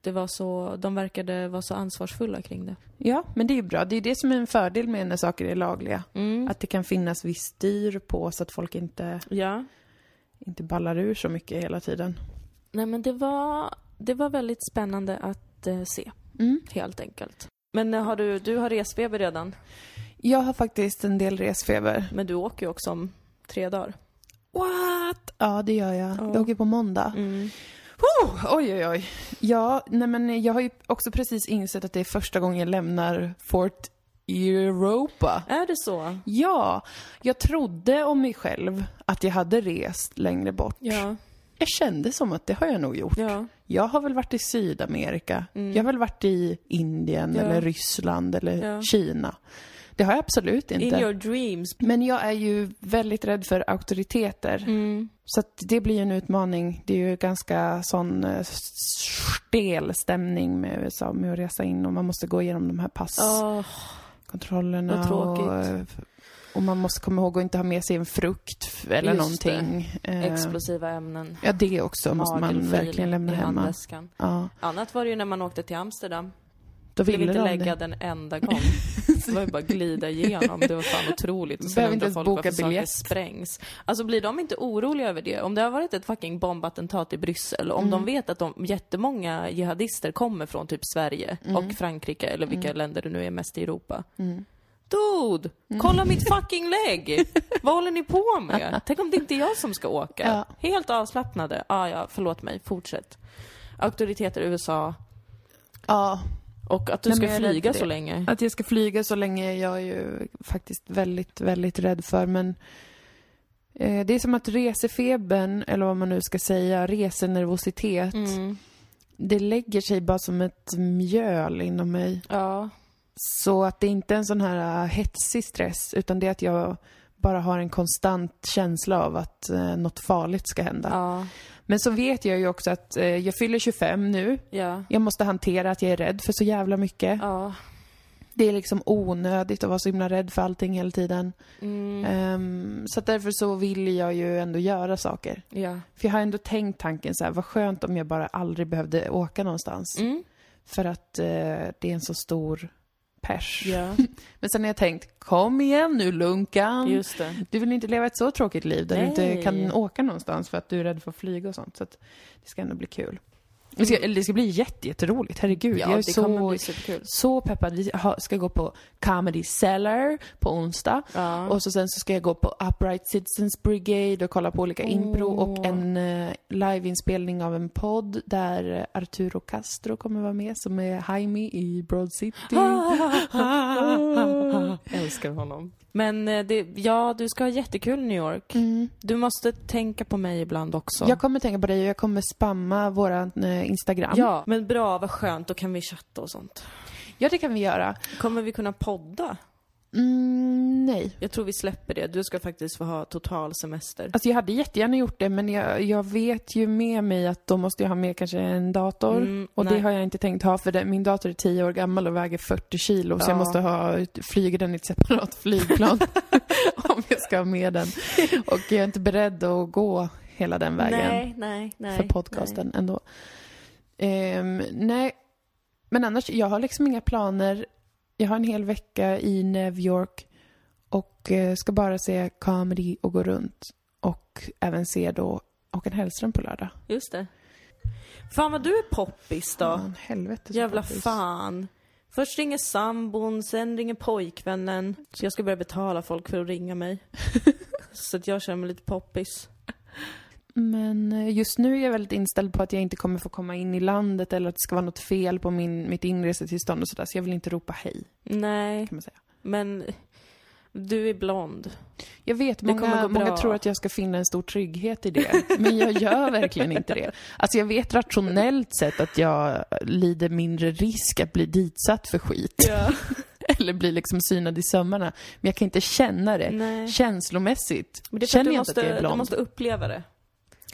Speaker 1: Det var så, de verkade vara så ansvarsfulla kring det.
Speaker 2: Ja, men det är ju bra. Det är ju det som är en fördel med när saker är lagliga.
Speaker 1: Mm.
Speaker 2: Att det kan finnas viss styr på så att folk inte,
Speaker 1: Ja.
Speaker 2: inte ballar ur så mycket hela tiden.
Speaker 1: Nej men det var, det var väldigt spännande att eh, se,
Speaker 2: Mm.
Speaker 1: helt enkelt. Men eh, har du, du har resfeber redan,
Speaker 2: Jag har faktiskt en del resfeber.
Speaker 1: men du åker ju också om tre dagar.
Speaker 2: What? Ja, det gör jag.
Speaker 1: Ja.
Speaker 2: Jag åker på måndag.
Speaker 1: Mm.
Speaker 2: Oh, oj, oj, oj. Ja, nej men jag har ju också precis insett att det är första gången jag lämnar Fort Europa.
Speaker 1: Är det så?
Speaker 2: Ja, jag trodde om mig själv att jag hade rest längre bort.
Speaker 1: Ja.
Speaker 2: Jag kände som att det har jag nog gjort.
Speaker 1: Ja.
Speaker 2: Jag har väl varit i Sydamerika.
Speaker 1: Mm.
Speaker 2: Jag har väl varit i Indien
Speaker 1: Ja.
Speaker 2: eller Ryssland eller
Speaker 1: Ja.
Speaker 2: Kina. Det har jag absolut inte.
Speaker 1: In your dreams.
Speaker 2: Men jag är ju väldigt rädd för auktoriteter.
Speaker 1: Mm.
Speaker 2: Så att det blir ju en utmaning. Det är ju ganska sån eh, stel stämning med USA med att resa in och man måste gå igenom de här
Speaker 1: Åh,
Speaker 2: passkontrollerna.
Speaker 1: vad tråkigt.
Speaker 2: Och, eh, och man måste komma ihåg att inte ha med sig en frukt f- eller
Speaker 1: Just det.
Speaker 2: någonting. Eh,
Speaker 1: explosiva ämnen.
Speaker 2: Ja, det också måste man
Speaker 1: Nagelfil
Speaker 2: verkligen lämna
Speaker 1: i
Speaker 2: hemma.
Speaker 1: handväskan.
Speaker 2: Ja,
Speaker 1: Annat var det ju när man åkte till Amsterdam.
Speaker 2: då
Speaker 1: Ville
Speaker 2: ville
Speaker 1: inte
Speaker 2: de
Speaker 1: lägga
Speaker 2: det.
Speaker 1: den enda gång. Det var ju bara glida igenom. Det var fan otroligt. Och sen
Speaker 2: Behöver inte
Speaker 1: undrar
Speaker 2: ens
Speaker 1: folk
Speaker 2: boka
Speaker 1: varför saker
Speaker 2: biljett.
Speaker 1: sprängs. Alltså blir de inte oroliga över det? Om det har varit ett fucking bombattentat i Bryssel, om
Speaker 2: Mm.
Speaker 1: de vet att de, jättemånga
Speaker 2: Mm.
Speaker 1: jihadister kommer från typ Sverige och Frankrike eller vilka länder det nu är mest i Europa. Dude!
Speaker 2: Mm.
Speaker 1: Kolla mitt fucking lägg! Vad håller ni på med? Tänk om det inte är jag som ska åka?
Speaker 2: Ja.
Speaker 1: Helt avslappnade. Ah, ja, förlåt mig. Fortsätt. Auktoriteter i USA
Speaker 2: Ja,
Speaker 1: och att du
Speaker 2: Nej,
Speaker 1: ska
Speaker 2: men jag är rädd
Speaker 1: flyga
Speaker 2: för
Speaker 1: så
Speaker 2: det.
Speaker 1: länge.
Speaker 2: Att jag ska flyga så länge är jag ju faktiskt väldigt, väldigt rädd för. Men eh, det är som att resefebern, eller vad man nu ska säga, resenervositet,
Speaker 1: Mm.
Speaker 2: det lägger sig bara som ett mjöl inom mig.
Speaker 1: Ja.
Speaker 2: Så att det är inte en sån här eh, hetsig stress, utan det är att jag bara har en konstant känsla av att eh, något farligt ska hända.
Speaker 1: Ja.
Speaker 2: Men så vet jag ju också att eh, jag fyller 25 nu.
Speaker 1: Ja.
Speaker 2: Jag måste hantera att jag är rädd för så jävla mycket.
Speaker 1: Ja.
Speaker 2: Det är liksom onödigt att vara så himla rädd för allting hela tiden.
Speaker 1: Mm.
Speaker 2: Ehm, så att därför så vill jag ju ändå göra saker.
Speaker 1: Ja.
Speaker 2: För jag har ändå tänkt tanken så här, vad skönt om jag bara aldrig behövde åka någonstans.
Speaker 1: Mm.
Speaker 2: För att eh, det är en så stor pers.
Speaker 1: Ja.
Speaker 2: Men sen har jag tänkt, kom igen nu Lunkan!
Speaker 1: Just det.
Speaker 2: Du vill inte leva ett så tråkigt liv där du
Speaker 1: Nej.
Speaker 2: inte kan åka någonstans för att du är rädd för att flyga och sånt. Så att det ska ändå bli kul. Det ska, eller det ska bli jätte- jätteroligt, herregud. jag är
Speaker 1: Mm. det kommer
Speaker 2: så,
Speaker 1: bli superkul.
Speaker 2: så peppad. Vi har- ska gå på Comedy Cellar på onsdag.
Speaker 1: Ja.
Speaker 2: Och så sen så ska jag gå på Upright Citizens Brigade och kolla på olika impro och en eh, liveinspelning av en podd där eh, Arturo Castro kommer vara med som är Jaime i Broad City.
Speaker 1: Älskar honom. Ah. Mm. Men eh, det, ja, du ska ha jättekul i New York.
Speaker 2: Mm.
Speaker 1: Du måste tänka på mig ibland också.
Speaker 2: Jag kommer tänka på dig och jag kommer spamma våran eh, Instagram.
Speaker 1: Ja, men bra, vad skönt. Då kan vi chatta och sånt.
Speaker 2: Ja, det kan vi göra.
Speaker 1: Kommer vi kunna podda?
Speaker 2: Mm, nej.
Speaker 1: Jag tror vi släpper det. Du ska faktiskt få ha total semester.
Speaker 2: Alltså jag hade jättegärna gjort det men jag, jag vet ju med mig att då måste jag ha med kanske en dator.
Speaker 1: Mm,
Speaker 2: och
Speaker 1: nej.
Speaker 2: det har jag inte tänkt ha för det, min dator är 10 år gammal och väger 40 kilo så
Speaker 1: Ja.
Speaker 2: jag måste ha, flyga den i ett separat flygplan om jag ska ha med den. Och jag är inte beredd att gå hela den vägen
Speaker 1: Nej, nej, nej.
Speaker 2: för podcasten ändå. Ehm, nej, men annars, jag har liksom inga planer. Jag har en hel vecka i New York och eh, ska bara se comedy och gå runt. Och även se då Håkan Hellström på lördag.
Speaker 1: Nej. Just det. Fan vad du är poppis då.
Speaker 2: Fan, helvete. så
Speaker 1: Jävla
Speaker 2: poppis.
Speaker 1: fan. Först ringer sambon, sen ringer pojkvännen. Så jag ska börja betala folk för att ringa mig. så att jag känner mig lite poppis.
Speaker 2: Men eh, just nu är jag väldigt inställd på att jag inte kommer få komma in i landet eller att det ska vara något fel på min, mitt inresetillstånd och sådär. Så jag vill inte ropa hej,
Speaker 1: Nej,
Speaker 2: kan man säga.
Speaker 1: men du är blond.
Speaker 2: Jag vet,
Speaker 1: Det kommer
Speaker 2: många,
Speaker 1: gå bra.
Speaker 2: många tror att jag ska finna en stor trygghet i det, men jag gör verkligen inte det. Alltså jag vet rationellt sett att jag lider mindre risk att bli ditsatt för skit,
Speaker 1: Ja.
Speaker 2: eller bli liksom synad i sömmarna, men jag kan inte känna det
Speaker 1: Nej.
Speaker 2: känslomässigt.
Speaker 1: Men det är för att
Speaker 2: Känner
Speaker 1: du
Speaker 2: jag
Speaker 1: måste,
Speaker 2: inte att jag är
Speaker 1: du
Speaker 2: blond?
Speaker 1: måste uppleva det.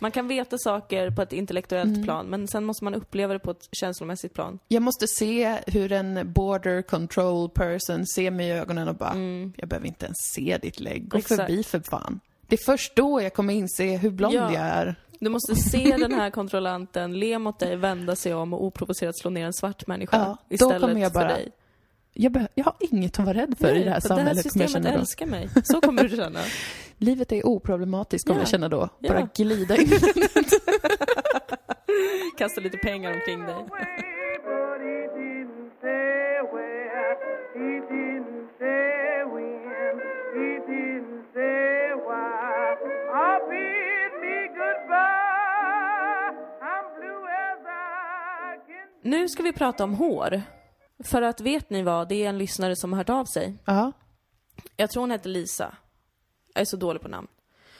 Speaker 1: Man kan veta saker på ett intellektuellt
Speaker 2: Mm.
Speaker 1: plan, men sen måste man uppleva det på ett känslomässigt plan.
Speaker 2: Jag måste se hur en border control person ser mig i ögonen och bara, jag behöver inte ens se ditt lägg, gå
Speaker 1: Mm. Exakt.
Speaker 2: förbi för fan. Det är först då jag kommer inse hur blond
Speaker 1: Ja.
Speaker 2: jag är.
Speaker 1: Du måste se den här kontrollanten le mot dig, vända sig om och oprovocerat slå ner en svart människa
Speaker 2: Ja, då
Speaker 1: istället
Speaker 2: kommer jag bara-
Speaker 1: för dig.
Speaker 2: Jag, beh- jag har inget att vara rädd för i det här
Speaker 1: för
Speaker 2: samhället.
Speaker 1: Det
Speaker 2: kommer
Speaker 1: här
Speaker 2: jag känna
Speaker 1: systemet
Speaker 2: då.
Speaker 1: älskar mig. Så kommer du känna.
Speaker 2: Livet är oproblematiskt kommer
Speaker 1: Ja.
Speaker 2: jag känna då.
Speaker 1: Ja.
Speaker 2: Bara glida in.
Speaker 1: Kasta lite pengar omkring dig.
Speaker 4: but he didn't say where, he didn't say when, he didn't say why. I bid me goodbye. I'm blue as I can
Speaker 1: Nu ska vi prata om hår. För att vet ni vad, det är en lyssnare som har hört av sig.
Speaker 2: ja.
Speaker 1: Jag tror hon heter Lisa. Jag är så dålig på namn.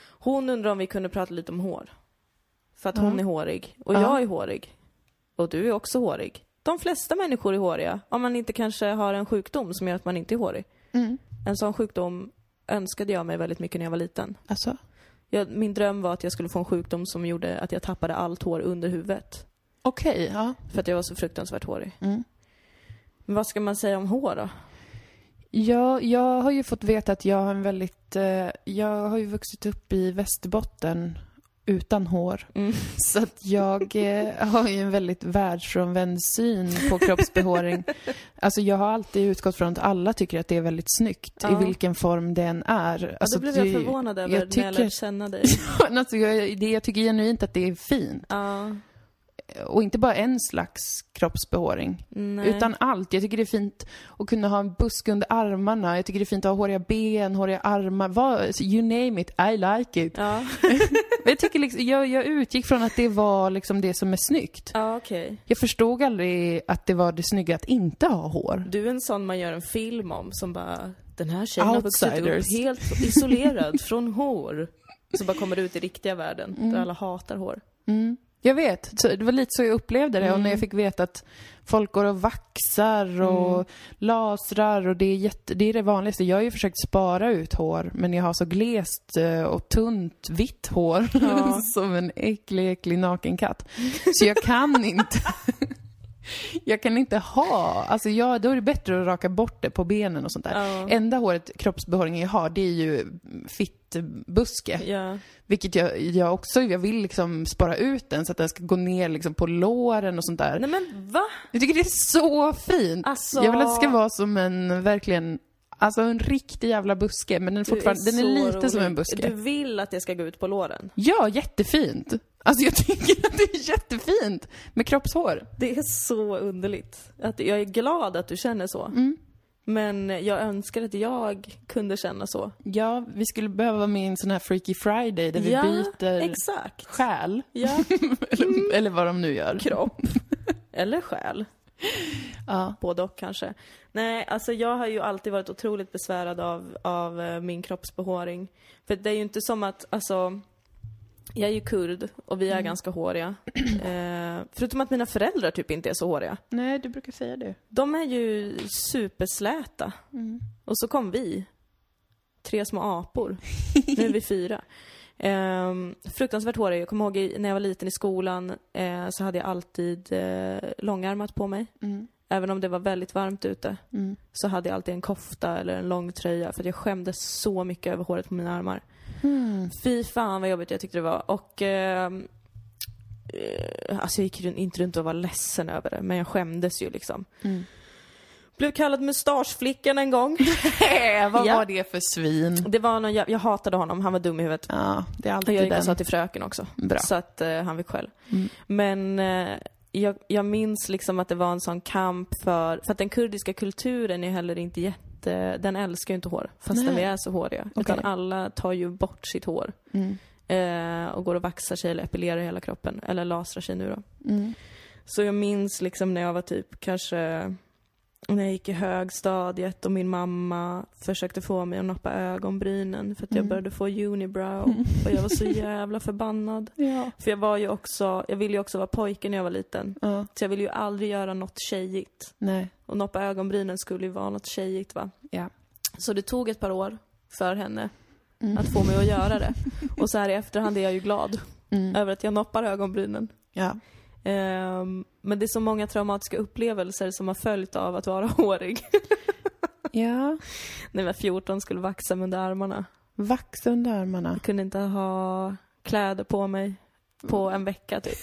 Speaker 1: Hon undrar om vi kunde prata lite om hår. För att hon är hårig. Och jag är hårig. Och du är också hårig. De flesta människor är håriga. Om man inte kanske har en sjukdom som gör att man inte är hårig. En sån sjukdom önskade jag mig väldigt mycket när jag var liten.
Speaker 2: Alltså,
Speaker 1: Jag, min dröm var att jag skulle få en sjukdom som gjorde att jag tappade allt hår under huvudet.
Speaker 2: okej. ja.
Speaker 1: För att jag var så fruktansvärt hårig. Men vad ska man säga om hår då?
Speaker 2: ja. Jag har ju fått veta att jag har en väldigt... Eh, jag har ju vuxit upp i Västerbotten utan hår.
Speaker 1: Mm.
Speaker 2: Så att jag eh, har ju en väldigt världsfrånvänd syn på kroppsbehåring. Alltså jag har alltid utgått från att alla tycker att det är väldigt snyggt
Speaker 1: Ja.
Speaker 2: i vilken form det än är.
Speaker 1: Ja,
Speaker 2: Alltså,
Speaker 1: då blev jag
Speaker 2: det-
Speaker 1: förvånad över
Speaker 2: jag
Speaker 1: när jag
Speaker 2: tycker-
Speaker 1: lärde känna dig.
Speaker 2: alltså, jag, det, jag tycker genuint att det är fint.
Speaker 1: Ja.
Speaker 2: och inte bara en slags kroppsbehåring.
Speaker 1: Nej.
Speaker 2: Utan allt. Jag tycker det är fint att kunna ha en buske under armarna. Jag tycker det är fint att ha håriga ben, håriga armar. Vad, you name it, I like it.
Speaker 1: Ja,
Speaker 2: Jag, tycker liksom, jag, jag utgick från att det var liksom det som är snyggt.
Speaker 1: ja okej.
Speaker 2: Jag förstod aldrig att det var det snygga att inte ha hår.
Speaker 1: Du är en sån man gör en film om som bara, den här tjejen har
Speaker 2: Outsiders.
Speaker 1: vuxit upp helt isolerad från hår. Så bara kommer ut i riktiga världen,
Speaker 2: Mm.
Speaker 1: där alla hatar hår.
Speaker 2: Jag vet, så det var lite så jag upplevde det. Och när jag fick veta att folk går och vaxar och lasrar och det är, jätte, det är det vanligaste. Jag har ju försökt spara ut hår men jag har så glest eh, och tunt vitt hår som en äcklig, äcklig naken katt. Så jag kan inte jag kan inte ha, alltså jag, då är det bättre att raka bort det på benen och sånt där.
Speaker 1: Ja.
Speaker 2: Enda håret, kroppsbehåringen jag har, det är ju fittbuske.
Speaker 1: Ja.
Speaker 2: Vilket jag, jag också, jag vill liksom spara ut den så att den ska gå ner liksom på låren och sånt där.
Speaker 1: Nej men va?
Speaker 2: Jag tycker det är så fint!
Speaker 1: Alltså-
Speaker 2: Jag vill att det ska vara som en, verkligen, alltså en riktig jävla buske men den är
Speaker 1: Du
Speaker 2: fortfarande, den är
Speaker 1: så
Speaker 2: lite
Speaker 1: rolig.
Speaker 2: som en buske.
Speaker 1: Du vill att det ska gå ut på låren?
Speaker 2: Ja, jättefint! Alltså jag tycker att det är jättefint med kroppshår.
Speaker 1: Det är så underligt. Att jag är glad att du känner så.
Speaker 2: Mm.
Speaker 1: Men jag önskar att jag kunde känna så.
Speaker 2: Ja, vi skulle behöva vara med i en sån här Freaky Friday där vi
Speaker 1: ja,
Speaker 2: byter
Speaker 1: exakt.
Speaker 2: själ.
Speaker 1: Ja,
Speaker 2: Eller, eller vad de nu gör.
Speaker 1: kropp. Eller själ.
Speaker 2: Ja.
Speaker 1: Både och kanske. Nej, alltså jag har ju alltid varit otroligt besvärad av, av eh, min kroppsbehåring. För det är ju inte som att, alltså, jag är ju kurd och
Speaker 2: Mm.
Speaker 1: vi är ganska håriga. Eh, förutom att mina föräldrar typ inte är så håriga.
Speaker 2: Nej, du brukar säga det. Mm.
Speaker 1: De är ju supersläta. Och så kom vi. Tre små apor. Nu är vi fyra. Ehm, fruktansvärt håriga. Jag kommer ihåg i- när jag var liten i skolan eh, så hade jag alltid eh, långärmat på mig.
Speaker 2: Mm.
Speaker 1: Även om det var väldigt varmt ute
Speaker 2: Mm.
Speaker 1: så hade jag alltid en kofta eller en lång tröja för att jag skämdes så mycket över håret på mina armar.
Speaker 2: Mm.
Speaker 1: Fy fan vad jobbigt jag tyckte det var. Och... ehm, eh, alltså jag gick ju inte runt och var ledsen över det, men jag skämdes ju liksom.
Speaker 2: Mm.
Speaker 1: Blev kallad mustaschflickan en gång.
Speaker 2: vad
Speaker 1: Ja.
Speaker 2: var det för svin?
Speaker 1: Det var någon, jag, jag hatade honom, han var dum i huvudet.
Speaker 2: Ja,
Speaker 1: Och
Speaker 2: det är
Speaker 1: jag
Speaker 2: alltid
Speaker 1: gick och sa
Speaker 2: den.
Speaker 1: till fröken också.
Speaker 2: Bra.
Speaker 1: Så att eh, han fick skäll.
Speaker 2: Mm.
Speaker 1: Men eh, jag, jag minns liksom att det var en sån kamp för, för att den kurdiska kulturen är heller inte jätte, den älskar ju inte hår. Fastän
Speaker 2: Nej.
Speaker 1: vi är så håriga. Utan
Speaker 2: Okej.
Speaker 1: alla tar ju bort sitt hår.
Speaker 2: Mm.
Speaker 1: Eh, och går och vaxar sig eller epilerar hela kroppen. Eller lasrar sig nu då.
Speaker 2: Mm.
Speaker 1: Så jag minns liksom när jag var typ kanske när jag gick i högstadiet och min mamma försökte få mig att nappa ögonbrynen för att jag
Speaker 2: Mm.
Speaker 1: började få unibrow och jag var så jävla förbannad.
Speaker 2: Ja.
Speaker 1: För jag var ju också, jag ville ju också vara pojke när jag var liten.
Speaker 2: ja.
Speaker 1: Så jag ville ju aldrig göra något tjejigt.
Speaker 2: Nej.
Speaker 1: Och noppa ögonbrynen skulle ju vara något tjejigt va.
Speaker 2: Ja.
Speaker 1: Så det tog ett par år för henne
Speaker 2: Mm.
Speaker 1: att få mig att göra det. Och så här i efterhand är jag ju glad
Speaker 2: Mm.
Speaker 1: över att jag noppar ögonbrynen.
Speaker 2: Ja.
Speaker 1: Ehm, men det är så många traumatiska upplevelser som har följt av att vara hårig.
Speaker 2: ja.
Speaker 1: När jag var 14 skulle vaxa mig under armarna.
Speaker 2: Vaxa under armarna.
Speaker 1: Jag kunde inte ha kläder på mig på en vecka typ.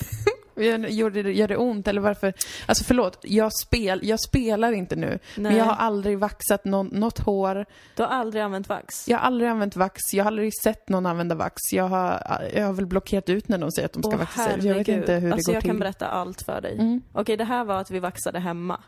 Speaker 2: Gör gör det, gör det ont eller varför? Alltså förlåt, jag, spel, jag spelar inte nu. Men
Speaker 1: Nej.
Speaker 2: jag har aldrig vaxat någon, något hår.
Speaker 1: Du har aldrig använt vax?
Speaker 2: Jag har aldrig använt vax. Jag har aldrig sett någon använda vax. Jag har, jag har väl blockerat ut när de säger att de ska
Speaker 1: Åh,
Speaker 2: vaxa sig. Jag vet
Speaker 1: herregud.
Speaker 2: inte hur
Speaker 1: alltså,
Speaker 2: det går
Speaker 1: jag kan
Speaker 2: till.
Speaker 1: berätta allt för dig.
Speaker 2: Mm.
Speaker 1: Okej, det här var att vi vaxade hemma.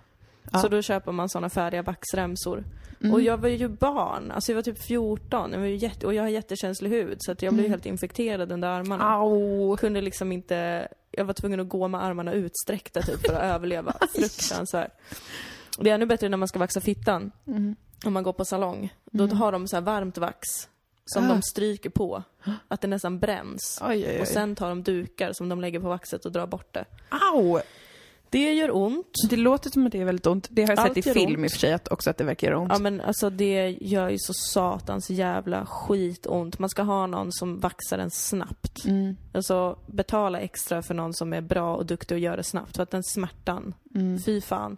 Speaker 2: Ja.
Speaker 1: Så då köper man såna färdiga vaxremsor.
Speaker 2: Mm.
Speaker 1: Och jag var ju barn, alltså jag var typ 14 jag var ju jätte, och jag har jättekänslig hud så att jag
Speaker 2: Mm.
Speaker 1: blev helt infekterad under armarna.
Speaker 2: Au!
Speaker 1: kunde liksom inte, jag var tvungen att gå med armarna utsträckta typ för att överleva. Fruktansvärt. Det är ännu bättre när man ska vaxa fittan.
Speaker 2: Mm.
Speaker 1: Om man går på salong. Då har de så här varmt vax som
Speaker 2: Ah.
Speaker 1: de stryker på. Att det nästan bränns.
Speaker 2: Oj, oj, oj.
Speaker 1: Och sen tar de dukar som de lägger på vaxet och drar bort det.
Speaker 2: Au!
Speaker 1: Det gör ont.
Speaker 2: Det låter som att det är väldigt ont. Det har jag
Speaker 1: Allt
Speaker 2: sett i
Speaker 1: gör
Speaker 2: film
Speaker 1: ont.
Speaker 2: i och för sig, att också att det verkar göra ont.
Speaker 1: Ja men alltså det gör ju så satans jävla skitont. Man ska ha någon som vaxar en snabbt.
Speaker 2: Mm.
Speaker 1: Alltså betala extra för någon som är bra och duktig och gör det snabbt. För att den smärtan, fy fan.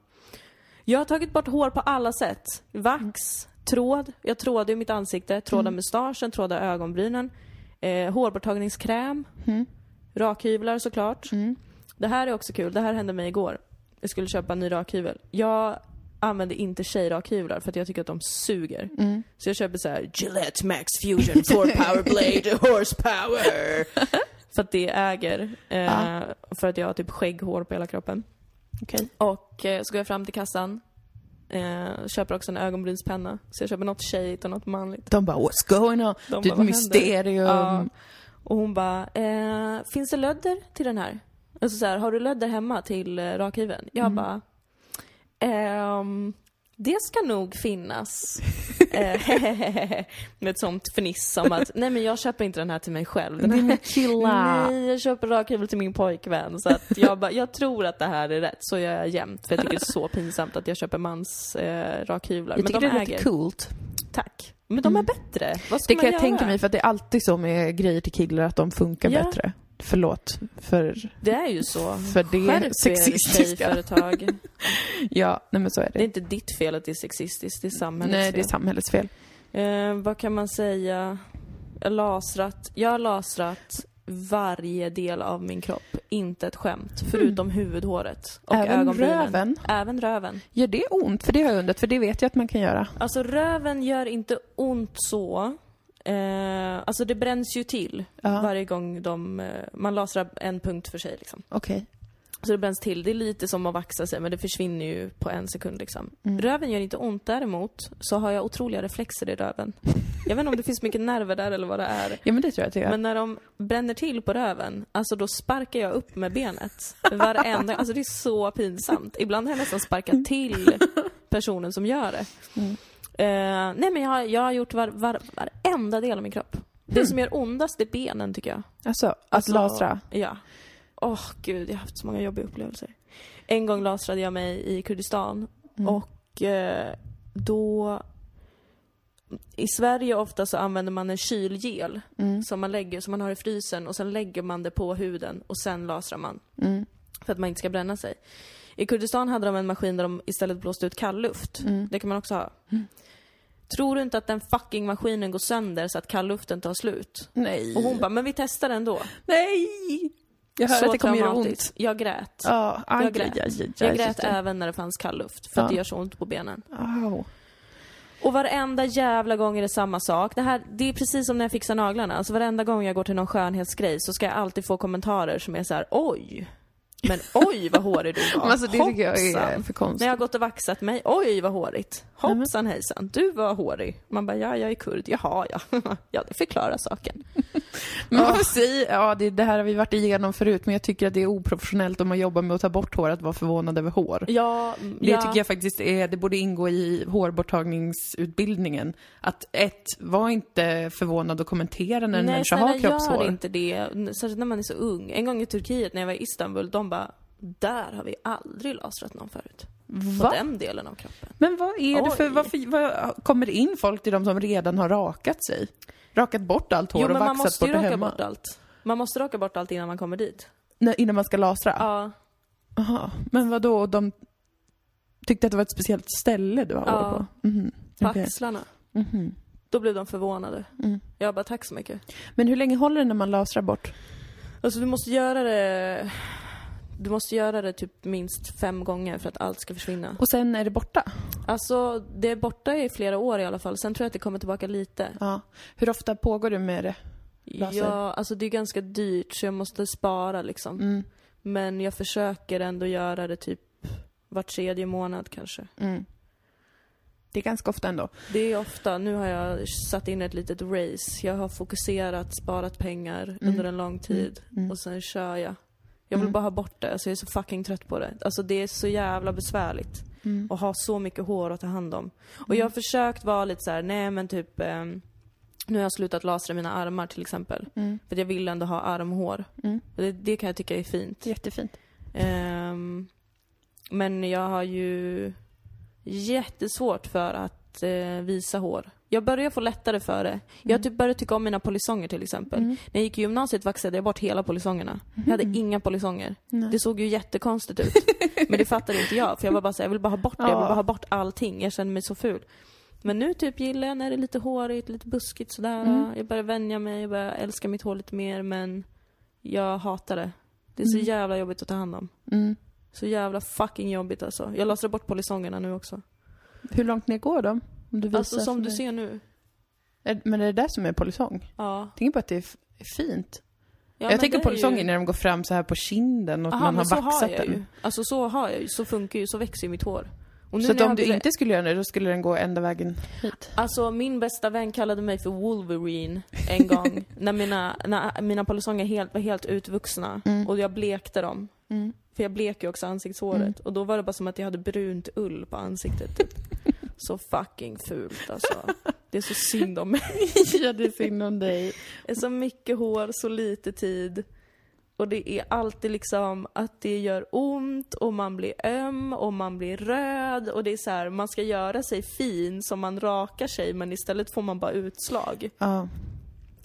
Speaker 1: Jag har tagit bort hår på alla sätt. Vax, tråd. Jag trådade ju mitt ansikte, trådade mustaschen, trådade ögonbrynen. Eh, hårborttagningskräm. Rakhyvlar såklart. Det här är också kul. Det här hände mig igår. Jag skulle köpa en ny rakhyvel. Jag använder inte tjejrakhyvlar för att jag tycker att de suger.
Speaker 2: Mm.
Speaker 1: Så jag köper så här Gillette Max Fusion 4 Power Blade Horsepower. För att det äger. Eh,
Speaker 2: Ja.
Speaker 1: För att jag har typ skägghår på hela kroppen.
Speaker 2: Okej.
Speaker 1: Och eh, så går jag fram till kassan. Eh, köper också en ögonbrynspenna. Så jag köper något tjejigt och något manligt.
Speaker 2: De bara “What's going on?”
Speaker 1: De
Speaker 2: Det Mm. är
Speaker 1: bara,
Speaker 2: ett
Speaker 1: "Vad
Speaker 2: mysterium.
Speaker 1: Ja. Ehm, Och hon bara, eh, finns det lödder till den här? Alltså så här, har du lödder hemma till eh, rakhyveln?
Speaker 2: Mm.
Speaker 1: Jag bara, ehm, det ska nog finnas. Eh, Med ett sånt fniss som att, nej men jag köper inte den här till mig själv. Den här, nej, jag köper rakhyvel till min pojkvän. Så att jag bara, jag tror att det här är rätt. Så gör jag jämt. För jag tycker det är så pinsamt att jag köper mans eh, rakhyvlar.
Speaker 2: Jag tycker
Speaker 1: men de
Speaker 2: det är
Speaker 1: äger.
Speaker 2: lite coolt.
Speaker 1: Tack. Men de är bättre. Vad ska man
Speaker 2: Mm. Det kan jag
Speaker 1: göra?
Speaker 2: tänka mig för att det är alltid så med grejer till killar att de funkar
Speaker 1: Ja.
Speaker 2: bättre. Förlåt för,
Speaker 1: Det är ju så.
Speaker 2: för det
Speaker 1: Skärp er
Speaker 2: sexistiska.
Speaker 1: tjejföretag.
Speaker 2: Ja, nej men så är
Speaker 1: Det är
Speaker 2: det.
Speaker 1: inte ditt fel att det är sexistiskt, det är samhällets
Speaker 2: Nej, det är
Speaker 1: fel.
Speaker 2: samhällets fel.
Speaker 1: eh, vad kan man säga? Jag har lasrat, jag har lasrat varje del av min kropp. Inte ett skämt. Förutom huvudhåret och
Speaker 2: Mm. Även
Speaker 1: ögonbrynen.
Speaker 2: röven.
Speaker 1: Även röven.
Speaker 2: Gör det ont? För det har jag undrat, för det vet jag att man kan göra.
Speaker 1: Alltså röven gör inte ont så. Eh, alltså det bränns ju till
Speaker 2: Ja.
Speaker 1: varje gång de, eh, man lasrar en punkt för sig liksom.
Speaker 2: Okej.
Speaker 1: Så det bränns till. Det är lite som att vaxa sig men det försvinner ju på en sekund liksom.
Speaker 2: Mm.
Speaker 1: Röven gör inte ont däremot så har jag otroliga reflexer i röven. Jag vet inte om det finns mycket nerver där eller vad det är.
Speaker 2: Ja men det tror jag att jag gör.
Speaker 1: Men när de bränner till på röven, alltså då sparkar jag upp med benet. Varenda Alltså det är så pinsamt. Ibland har jag nästan sparkat till personen som gör det. Eh, nej men jag har, jag har gjort var, var, varenda del av min kropp. Det som gör ondast är benen tycker jag.
Speaker 2: Alltså, att
Speaker 1: Alltså,
Speaker 2: lasra.
Speaker 1: Ja. Åh gud, jag har haft så många jobbiga upplevelser. En gång lasrade jag mig i Kurdistan
Speaker 2: Mm.
Speaker 1: och eh, då... I Sverige ofta så använder man en kylgel
Speaker 2: Mm.
Speaker 1: som man lägger, som man har i frysen och sen lägger man det på huden och sen lasrar man.
Speaker 2: Mm.
Speaker 1: För att man inte ska bränna sig. I Kurdistan hade de en maskin där de istället blåste ut kallluft.
Speaker 2: Mm.
Speaker 1: Det kan man också ha. Tror du inte att den fucking maskinen går sönder så att kallluften tar slut?
Speaker 2: Nej.
Speaker 1: Och hon bara, men vi testar ändå.
Speaker 2: Nej! Jag hör
Speaker 1: Så
Speaker 2: att det kommer göra
Speaker 1: traumatiskt.
Speaker 2: ont.
Speaker 1: Jag grät.
Speaker 2: Ja, aj,
Speaker 1: Jag grät.
Speaker 2: aj, aj, aj,
Speaker 1: Jag grät
Speaker 2: aj.
Speaker 1: även när det fanns kall luft, för att
Speaker 2: Ja.
Speaker 1: det gör så ont på benen.
Speaker 2: Au.
Speaker 1: Och varenda jävla gång är det samma sak. Det, här, det är precis som när jag fixar naglarna. Alltså varenda gång jag går till någon skönhetsgrej så ska jag alltid få kommentarer som är så här: oj! Men oj vad hårig du var.
Speaker 2: Men alltså, det tycker jag är
Speaker 1: Hoppsan.
Speaker 2: för konstigt.
Speaker 1: När jag har gått och vaxat mig, oj vad hårigt. Hoppsan hejsan, du var hårig. Man bara, ja jag är kurd, jaha ja. ja det förklarar saken.
Speaker 2: Men varför säger, ja det, det här har vi varit igenom förut men jag tycker att det är oprofessionellt om man jobbar med att ta bort hår att vara förvånad över hår.
Speaker 1: Ja,
Speaker 2: Det tycker jag faktiskt är, det borde ingå i hårborttagningsutbildningen. Att ett, var inte förvånad och kommentera när en människa
Speaker 1: snälla,
Speaker 2: har kroppshår.
Speaker 1: gör inte det. N- Särskilt när man är så ung. En gång i Turkiet när jag var i Istanbul, de bara där har vi aldrig lasrat någon förut. På
Speaker 2: Va?
Speaker 1: den delen av kroppen.
Speaker 2: Men vad är det för,
Speaker 1: Oj.
Speaker 2: varför vad, kommer det in folk till de som redan har rakat sig? Rakat bort allt hår
Speaker 1: jo
Speaker 2: och
Speaker 1: men man
Speaker 2: vaxat
Speaker 1: måste
Speaker 2: bort
Speaker 1: ju
Speaker 2: det
Speaker 1: raka
Speaker 2: hemma?
Speaker 1: bort allt. Man måste raka bort allt innan man kommer dit.
Speaker 2: Nej, innan man ska lasra?
Speaker 1: Ja,
Speaker 2: Aha. Men vad då de tyckte att det var ett speciellt ställe du har
Speaker 1: Ja.
Speaker 2: hår på? Mhm.
Speaker 1: på
Speaker 2: Okej.
Speaker 1: axlarna.
Speaker 2: Mhm.
Speaker 1: Då blev de förvånade.
Speaker 2: Mm.
Speaker 1: Jag bara, tack så mycket.
Speaker 2: Men hur länge håller det när man lasrar bort?
Speaker 1: Alltså du måste göra det... Du måste göra det typ minst fem gånger för att allt ska försvinna.
Speaker 2: Och sen är det borta?
Speaker 1: Alltså, det är borta i flera år i alla fall. Sen tror jag att det kommer tillbaka lite.
Speaker 2: Ja. Hur ofta pågår du med det? laser?
Speaker 1: Ja, alltså det är ganska dyrt så jag måste spara liksom.
Speaker 2: Mm.
Speaker 1: Men jag försöker ändå göra det typ var tredje månad kanske.
Speaker 2: Mm. Det är ganska ofta ändå.
Speaker 1: Det är ofta, nu har jag satt in ett litet race. Jag har fokuserat, sparat pengar under en lång tid och sen kör jag. Jag vill bara ha bort det, alltså jag är så fucking trött på det. Alltså det är så jävla besvärligt. Att ha så mycket hår att ta hand om. Och jag har försökt vara lite så här: nej men typ ehm, nu har jag slutat lasra mina armar till exempel. För att jag vill ändå ha armhår. Och Det, det kan jag tycka är fint.
Speaker 2: Jättefint.
Speaker 1: Ehm, men jag har ju jättesvårt för att eh, visa hår. Jag börjar få lättare för det. Jag typ började tycka om mina polisonger till exempel. När jag gick i gymnasiet vaxade jag bort hela polisongerna. Jag hade inga polisonger.
Speaker 2: Mm.
Speaker 1: Det såg ju jättekonstigt ut. Men det fattade inte jag för jag var bara så här, jag vill bara ha bort det, jag vill bara ha bort allting. Jag känner mig så ful. Men nu typ gillar jag när det är lite hårigt, lite buskigt sådär. Jag börjar vänja mig, jag börjar älska mitt hår lite mer men jag hatar det. Det är så jävla jobbigt att ta hand om.
Speaker 2: Mm.
Speaker 1: Så jävla fucking jobbigt alltså. Jag lasrar bort polisongerna nu också.
Speaker 2: Hur långt ner går de? Om du visar
Speaker 1: Alltså som
Speaker 2: för
Speaker 1: du
Speaker 2: mig.
Speaker 1: ser nu.
Speaker 2: Är- Men är det där som är polisong?
Speaker 1: Ja.
Speaker 2: Tänk på att det är f- fint. jag tänker på sången när de går fram så här på kinden och att man har
Speaker 1: har
Speaker 2: vaxat
Speaker 1: jag Ju.
Speaker 2: den.
Speaker 1: Alltså så har jag ju, så funkar ju, så växer ju mitt hår. Och nu
Speaker 2: Så
Speaker 1: när
Speaker 2: att
Speaker 1: jag
Speaker 2: om
Speaker 1: hade
Speaker 2: du
Speaker 1: det-
Speaker 2: inte skulle göra det, då skulle den gå ända vägen hit.
Speaker 1: Alltså min bästa vän kallade mig för Wolverine en gång. när mina, när mina polisonger helt, var helt utvuxna
Speaker 2: Mm.
Speaker 1: och jag blekte dem. För jag bleker ju också ansiktshåret.
Speaker 2: Mm.
Speaker 1: Och då var det bara som att jag hade brunt ull på ansiktet typ. så fucking fult alltså. Det är så synd om mig.
Speaker 2: ja, det är synd om dig.
Speaker 1: Det är så mycket hår, så lite tid. Och det är alltid liksom att det gör ont och man blir öm och man blir röd och det är så här, man ska göra sig fin som man rakar sig men istället får man bara utslag.
Speaker 2: Ja,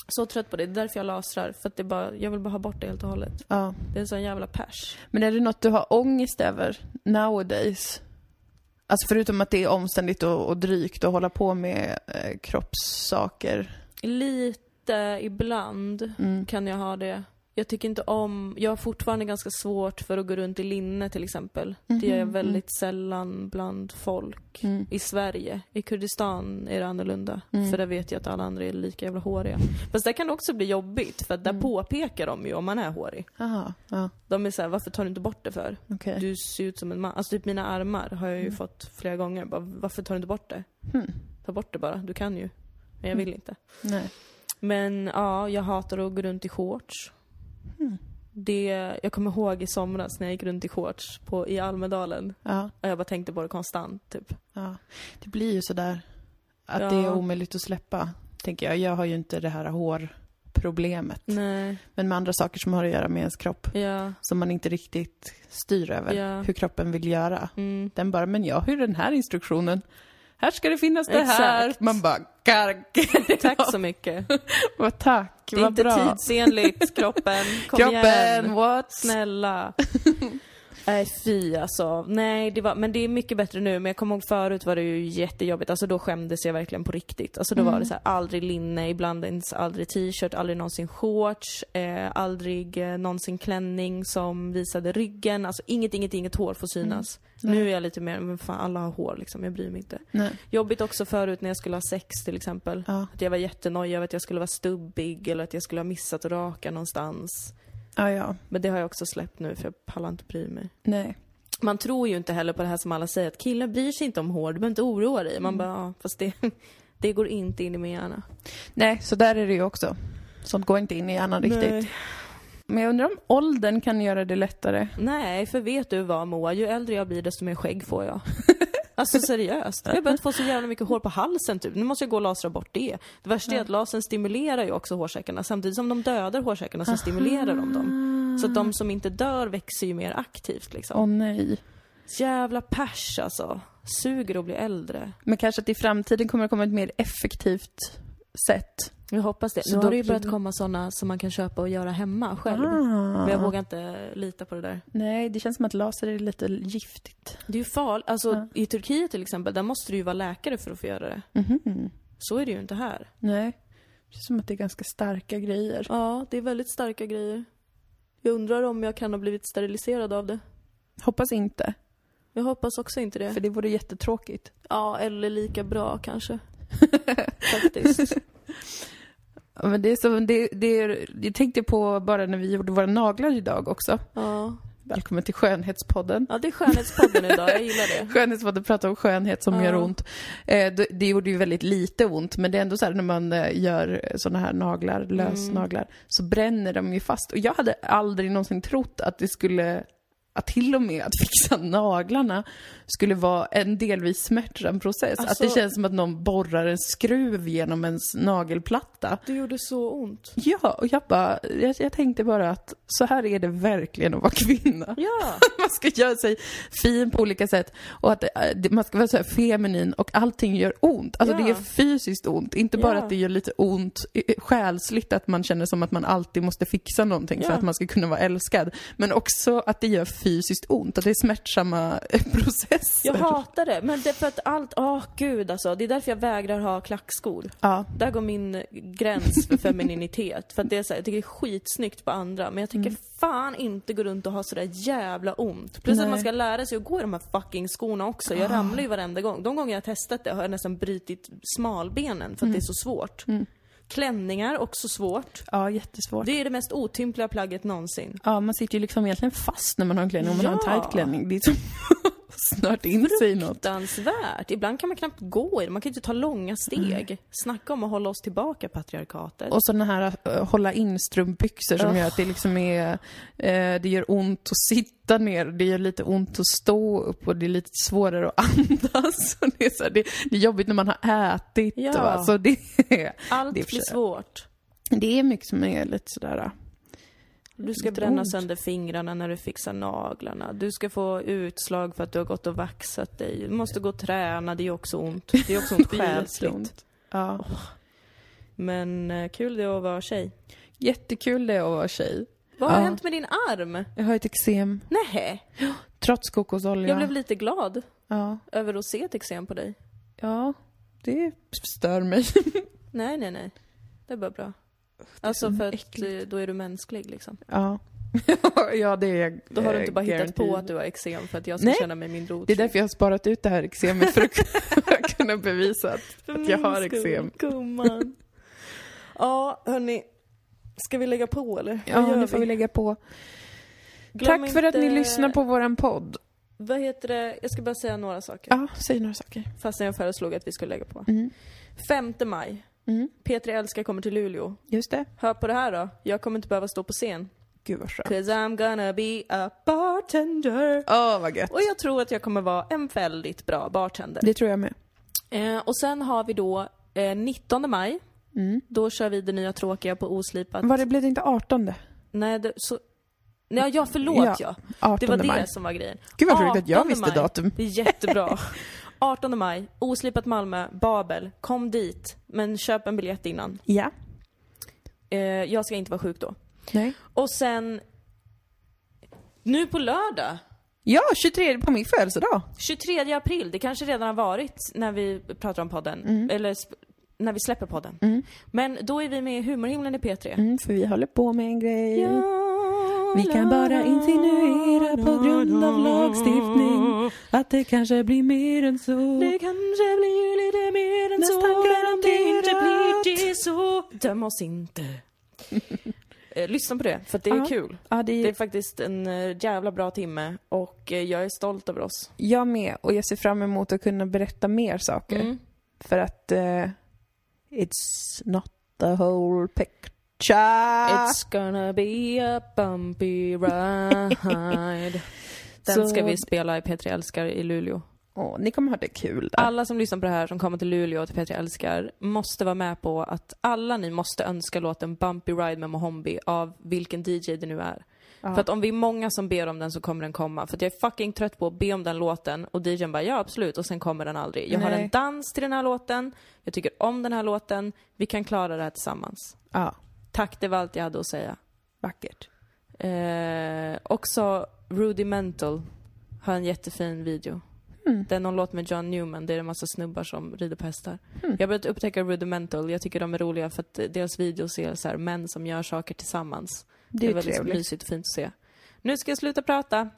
Speaker 1: Så trött på det, det är därför jag lasrar. För att det är bara, jag vill bara ha bort det helt och hållet.
Speaker 2: ja.
Speaker 1: Det är en sån jävla pers.
Speaker 2: Men är det något du har ångest över nowadays? Alltså förutom att det är omständigt och, och drygt att hålla på med eh, kroppssaker.
Speaker 1: Lite ibland
Speaker 2: Mm.
Speaker 1: kan jag ha det. Jag tycker inte om, jag har fortfarande ganska svårt för att gå runt i linne till exempel. Det gör jag
Speaker 2: Mhm,
Speaker 1: väldigt sällan bland folk.
Speaker 2: Mm.
Speaker 1: I Sverige. I Kurdistan är det annorlunda.
Speaker 2: Mm.
Speaker 1: För där vet jag att alla andra är lika jävla håriga. Fast där kan det också bli jobbigt för att där påpekar de ju om man är hårig.
Speaker 2: Aha, ja,
Speaker 1: De är såhär, varför tar du inte bort det för?
Speaker 2: okej.
Speaker 1: Du ser ut som en man. Alltså typ mina armar har jag ju fått flera gånger. Bara, varför tar du inte bort det?
Speaker 2: Hmm.
Speaker 1: Ta bort det bara, du kan ju. Men jag vill inte.
Speaker 2: Nej.
Speaker 1: Men ja, jag hatar att gå runt i shorts. Det, jag kommer ihåg i somras när jag gick runt i shorts på, i Almedalen.
Speaker 2: Ja,
Speaker 1: Och jag bara tänkte på det konstant typ.
Speaker 2: ja. Det blir ju sådär att det är
Speaker 1: Ja.
Speaker 2: omöjligt att släppa, tänker jag. Jag har ju inte det här hårproblemet.
Speaker 1: Nej,
Speaker 2: Men med andra saker som har att göra med ens kropp.
Speaker 1: ja,
Speaker 2: Som man inte riktigt styr över
Speaker 1: Ja.
Speaker 2: hur kroppen vill göra.
Speaker 1: mm.
Speaker 2: Den bara, men jag har ju den här instruktionen. Här ska det finnas det här.
Speaker 1: Exakt.
Speaker 2: Man bara, kark.
Speaker 1: Tack så mycket.
Speaker 2: Vad tack,
Speaker 1: Det är
Speaker 2: vad
Speaker 1: inte
Speaker 2: bra.
Speaker 1: tidsenligt, kroppen. Kom igen.
Speaker 2: Kroppen, what?
Speaker 1: Snälla. Nej fy alltså. Nej, det var, men det är mycket bättre nu. Men jag kommer ihåg förut var det ju jättejobbigt. Alltså då skämdes jag verkligen på riktigt. Alltså då var
Speaker 2: Mm.
Speaker 1: det så här, aldrig linne, ibland ens aldrig t-shirt, aldrig någonsin shorts, eh, aldrig eh, någonsin klänning som visade ryggen. Alltså inget, inget, inget hår får
Speaker 2: Mm.
Speaker 1: synas. Nu är jag lite mer, men fan alla har hår liksom, jag bryr mig inte.
Speaker 2: Nej.
Speaker 1: Jobbigt också förut när jag skulle ha sex till exempel.
Speaker 2: Ja.
Speaker 1: Att jag var jättenojig över att jag skulle vara stubbig eller att jag skulle ha missat att raka någonstans.
Speaker 2: Ja, ja.
Speaker 1: Men det har jag också släppt nu för jag pallar inte bry mig.
Speaker 2: Nej.
Speaker 1: Man tror ju inte heller på det här som alla säger att killar bryr sig inte om hår, du behöver inte oroa dig. Man bara, ja, fast det, det går inte in i min hjärna.
Speaker 2: Nej, så där är det ju också. Sånt går inte in i hjärnan riktigt.
Speaker 1: Nej.
Speaker 2: Men jag undrar om åldern kan göra det lättare.
Speaker 1: Nej, för vet du vad Moa, ju äldre jag blir desto mer skägg får jag. Alltså seriöst. Jag har börjat få så jävla mycket hår på halsen typ. Nu måste jag gå och lasra bort det. Det värsta är att lasern stimulerar ju också hårsäckarna samtidigt som de dödar hårsäckarna så stimulerar de dem. Så att de som inte dör växer ju mer aktivt liksom.
Speaker 2: Åh nej.
Speaker 1: Jävla pers alltså. Suger att bli äldre.
Speaker 2: Men kanske att i framtiden kommer det komma ett mer effektivt sätt.
Speaker 1: Jag hoppas det.
Speaker 2: Så
Speaker 1: nu
Speaker 2: då
Speaker 1: har det ju
Speaker 2: blir
Speaker 1: börjat
Speaker 2: det-
Speaker 1: komma såna som man kan köpa och göra hemma själv. Men jag vågar inte lita på det där.
Speaker 2: Ah. Nej, det känns som att laser är lite giftigt.
Speaker 1: Det är ju farligt. Alltså
Speaker 2: Ja.
Speaker 1: i Turkiet till exempel, där måste du ju vara läkare för att få göra det.
Speaker 2: Mhm.
Speaker 1: Så är det ju inte här.
Speaker 2: Nej. Det känns som att det är ganska starka grejer.
Speaker 1: Ja, det är väldigt starka grejer. Jag undrar om jag kan ha blivit steriliserad av det.
Speaker 2: Hoppas inte,
Speaker 1: Jag hoppas också inte det.
Speaker 2: för det vore jättetråkigt.
Speaker 1: Ja, eller lika bra kanske. Faktiskt.
Speaker 2: Ja, Men det är så, det, det är, jag tänkte på bara när vi gjorde våra naglar idag också.
Speaker 1: Ja.
Speaker 2: Välkommen till skönhetspodden.
Speaker 1: ja, det är skönhetspodden idag. Jag gillar det.
Speaker 2: Skönhetspodden pratar om skönhet som
Speaker 1: Ja.
Speaker 2: gör ont. Eh, det, det gjorde ju väldigt lite ont, men det är ändå så här när man eh, gör sådana här naglar,
Speaker 1: Mm.
Speaker 2: lösnaglar, så bränner de ju fast. Och jag hade aldrig någonsin trott att det skulle, att till och med att fixa naglarna skulle vara en delvis smärtsam process.
Speaker 1: Alltså-
Speaker 2: Att det känns som att någon borrar en skruv genom ens nagelplatta.
Speaker 1: Det gjorde så ont.
Speaker 2: Ja, och jag bara, jag, jag tänkte bara att så här är det verkligen att vara kvinna.
Speaker 1: Ja.
Speaker 2: Man ska göra sig fin på olika sätt och att eh, det- man ska vara så här feminin och allting gör ont. Alltså
Speaker 1: Ja.
Speaker 2: det gör fysiskt ont, inte bara
Speaker 1: Ja.
Speaker 2: att det gör lite ont eh, själsligt att man känner som att man alltid måste fixa någonting för
Speaker 1: Ja.
Speaker 2: att man ska kunna vara älskad. Men också att det gör fysiskt ont, att det är smärtsamma eh, processer.
Speaker 1: Jag hatar det. Men det är för att allt, åh gud alltså. Det är därför jag vägrar ha klackskor.
Speaker 2: Ja.
Speaker 1: Där går min gräns för femininitet. För att det är så här, jag tycker det är skitsnyggt på andra. Men jag tänker fan inte gå runt och ha sådär jävla ont. Plus att
Speaker 2: Nej.
Speaker 1: man ska lära sig att gå i de här fucking skorna också. Jag Mm. ramlar ju varenda gång. De gånger jag har testat det har jag nästan brutit smalbenen för att det är så svårt. Klänningar, också svårt.
Speaker 2: Ja, jättesvårt.
Speaker 1: Det är det mest otympliga plagget någonsin.
Speaker 2: Ja, man sitter ju liksom egentligen fast när man har en klänning. Om man har
Speaker 1: Ja.
Speaker 2: en tajt klänning, det är som att snört in sig i något.
Speaker 1: Fruktansvärt! Ibland kan man knappt gå i det, man kan ju inte ta långa steg. Snacka om att hålla oss tillbaka, patriarkatet.
Speaker 2: Och sådana här eh, hålla in strumpbyxor som
Speaker 1: Ugh.
Speaker 2: gör att det liksom är, eh, det gör ont att sitta ner, det gör lite ont att stå upp och det är lite svårare att andas. Och det, är så här, det, det är jobbigt när man har ätit.
Speaker 1: Ja.
Speaker 2: Va? Så det, är-
Speaker 1: Allt
Speaker 2: det
Speaker 1: blir
Speaker 2: är för sig.
Speaker 1: svårt.
Speaker 2: det är mycket som är lite eh, sådär. ja.
Speaker 1: Du ska
Speaker 2: Lite
Speaker 1: bränna
Speaker 2: ont.
Speaker 1: sönder fingrarna när du fixar naglarna. Du ska få utslag för att du har gått och vaxat dig. Du måste gå och träna, det är också ont. Det är också ont
Speaker 2: Det gör
Speaker 1: själsligt.
Speaker 2: jätteont. Ja.
Speaker 1: Men eh, kul det är att vara tjej.
Speaker 2: Jättekul det är att vara tjej.
Speaker 1: Vad har
Speaker 2: Ja.
Speaker 1: hänt med din arm?
Speaker 2: Jag har ett eksem,
Speaker 1: Nähä?
Speaker 2: trots kokosolja.
Speaker 1: Jag blev lite glad
Speaker 2: ja.
Speaker 1: över att se ett eksem på dig.
Speaker 2: ja, det stör mig.
Speaker 1: Nej, nej, nej. Det är bara bra. Alltså
Speaker 2: så
Speaker 1: för att
Speaker 2: äckligt.
Speaker 1: eh, då är du mänsklig liksom.
Speaker 2: Ja. ja, det är
Speaker 1: Då har du inte bara hittat på
Speaker 2: garantin.
Speaker 1: att du har eksem för att jag ska
Speaker 2: Eh, Nej.
Speaker 1: känna mig mindre
Speaker 2: Det är
Speaker 1: otrygg.
Speaker 2: därför jag har sparat ut det här eksemet för att kunna- kunna bevisa att...
Speaker 1: För
Speaker 2: att jag
Speaker 1: min
Speaker 2: har
Speaker 1: skull,
Speaker 2: eksem.
Speaker 1: Gumman. ja, hörni. Ska vi lägga på eller? Vad
Speaker 2: Ja,
Speaker 1: gör
Speaker 2: nu får vi lägga på. Tack
Speaker 1: Glöm
Speaker 2: för att ni
Speaker 1: inte-
Speaker 2: lyssnar på våran podd.
Speaker 1: Vad heter det? Jag ska bara säga några saker.
Speaker 2: Ja, säg några saker.
Speaker 1: Fastän jag föreslog att vi skulle lägga på.
Speaker 2: Mm.
Speaker 1: 5 maj.
Speaker 2: Mm.
Speaker 1: P3 Älskar kommer till Luleå.
Speaker 2: Just det.
Speaker 1: Hör på det här då. Jag kommer inte behöva stå på scen.
Speaker 2: Gud vad skönt.
Speaker 1: Cause I'm gonna be a bartender.
Speaker 2: Åh, vad gött.
Speaker 1: Och jag tror att jag kommer vara en väldigt bra bartender.
Speaker 2: Det tror jag med.
Speaker 1: Eh, och sen har vi då eh, 19 maj.
Speaker 2: Mm.
Speaker 1: Då kör vi det nya tråkiga på oslipat.
Speaker 2: Var det, blev det inte 18?
Speaker 1: Nej, det, så... Nej, ja, förlåt ja.
Speaker 2: Ja,
Speaker 1: 18 det var
Speaker 2: 18
Speaker 1: det
Speaker 2: maj.
Speaker 1: som var grejen.
Speaker 2: Gud vad roligt att jag
Speaker 1: 18
Speaker 2: visste
Speaker 1: maj.
Speaker 2: datum.
Speaker 1: Det är jättebra. 18 maj, Oslipat Malmö, Babel. Kom dit, men köp en biljett innan.
Speaker 2: Ja.
Speaker 1: Eh, jag ska inte vara sjuk då.
Speaker 2: Nej.
Speaker 1: Och sen... Nu på lördag,
Speaker 2: Ja, 23 på min födelsedag.
Speaker 1: 23 april, det kanske redan har varit när vi pratar om podden.
Speaker 2: Mm.
Speaker 1: Eller sp- när vi släpper podden. Men då är vi med i Humorhimlen i P3.
Speaker 2: Mm, för vi håller på med en grej.
Speaker 1: Ja,
Speaker 2: Vi kan bara insinuera på grund av lagstiftning att det kanske blir mer än så.
Speaker 1: Det kanske blir lite mer än
Speaker 2: Nästan
Speaker 1: så men om det inte
Speaker 2: garanterat.
Speaker 1: blir det så Döm oss inte. Eh, Lyssna på det, för att det är
Speaker 2: Ja.
Speaker 1: kul.
Speaker 2: Ja, det
Speaker 1: Det är
Speaker 2: är
Speaker 1: faktiskt en eh, jävla bra timme och eh, jag är stolt över oss.
Speaker 2: jag med och jag ser fram emot att kunna berätta mer saker.
Speaker 1: Mm.
Speaker 2: För att eh, it's not the whole picture.
Speaker 1: It's gonna be a bumpy ride. Den
Speaker 2: Så-
Speaker 1: ska vi spela i P3 Älskar i Luleå.
Speaker 2: Åh, ni kommer ha det kul där.
Speaker 1: Alla som lyssnar på det här som kommer till Luleå och till P3 Älskar måste vara med på att alla ni måste önska låten Bumpy Ride med Mohombi av vilken DJ det nu är.
Speaker 2: Ja.
Speaker 1: För att om vi är många som ber om den så kommer den komma. För att jag är fucking trött på att be om den låten och DJn bara ja absolut och sen kommer den aldrig. Jag har
Speaker 2: Nej.
Speaker 1: en dans till den här låten, jag tycker om den här låten, vi kan klara det här tillsammans.
Speaker 2: Ja,
Speaker 1: Tack, det var allt jag hade att säga.
Speaker 2: vackert.
Speaker 1: Eh, också Rudimental har en jättefin video.
Speaker 2: Mm.
Speaker 1: Det är någon låt med John Newman, det är en massa snubbar som rider på hästar.
Speaker 2: Hmm.
Speaker 1: Jag har börjat upptäcka Rudimental, jag tycker de är roliga för att eh, deras videos är så här män som gör saker tillsammans.
Speaker 2: Det är
Speaker 1: väldigt
Speaker 2: trevligt.
Speaker 1: mysigt och fint att se. Nu ska jag sluta prata.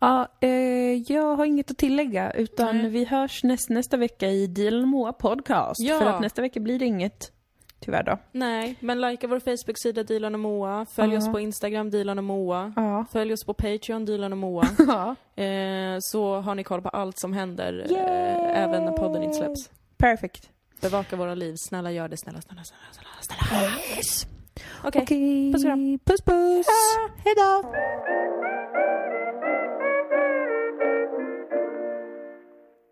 Speaker 2: Ja, eh, jag har inget att tillägga utan
Speaker 1: Nej.
Speaker 2: vi hörs näst, nästa vecka i Dilan Moa podcast.
Speaker 1: Ja.
Speaker 2: För att nästa vecka blir det inget, tyvärr då.
Speaker 1: Nej, men likea vår Facebook-sida Dilan och Moa, följ
Speaker 2: Ja.
Speaker 1: oss på Instagram Dilan och Moa,
Speaker 2: Ja.
Speaker 1: följ oss på Patreon Dilan och Moa,
Speaker 2: ja.
Speaker 1: eh, så har ni koll på allt som händer, eh, även när podden inte släpps.
Speaker 2: Perfect.
Speaker 1: Bevaka våra liv. Snälla gör det. Snälla, snälla, snälla, snälla, snälla. Okej.
Speaker 2: Okej.
Speaker 1: Puss och kram. Ah.
Speaker 2: Puss puss. Hej då.
Speaker 4: Baby,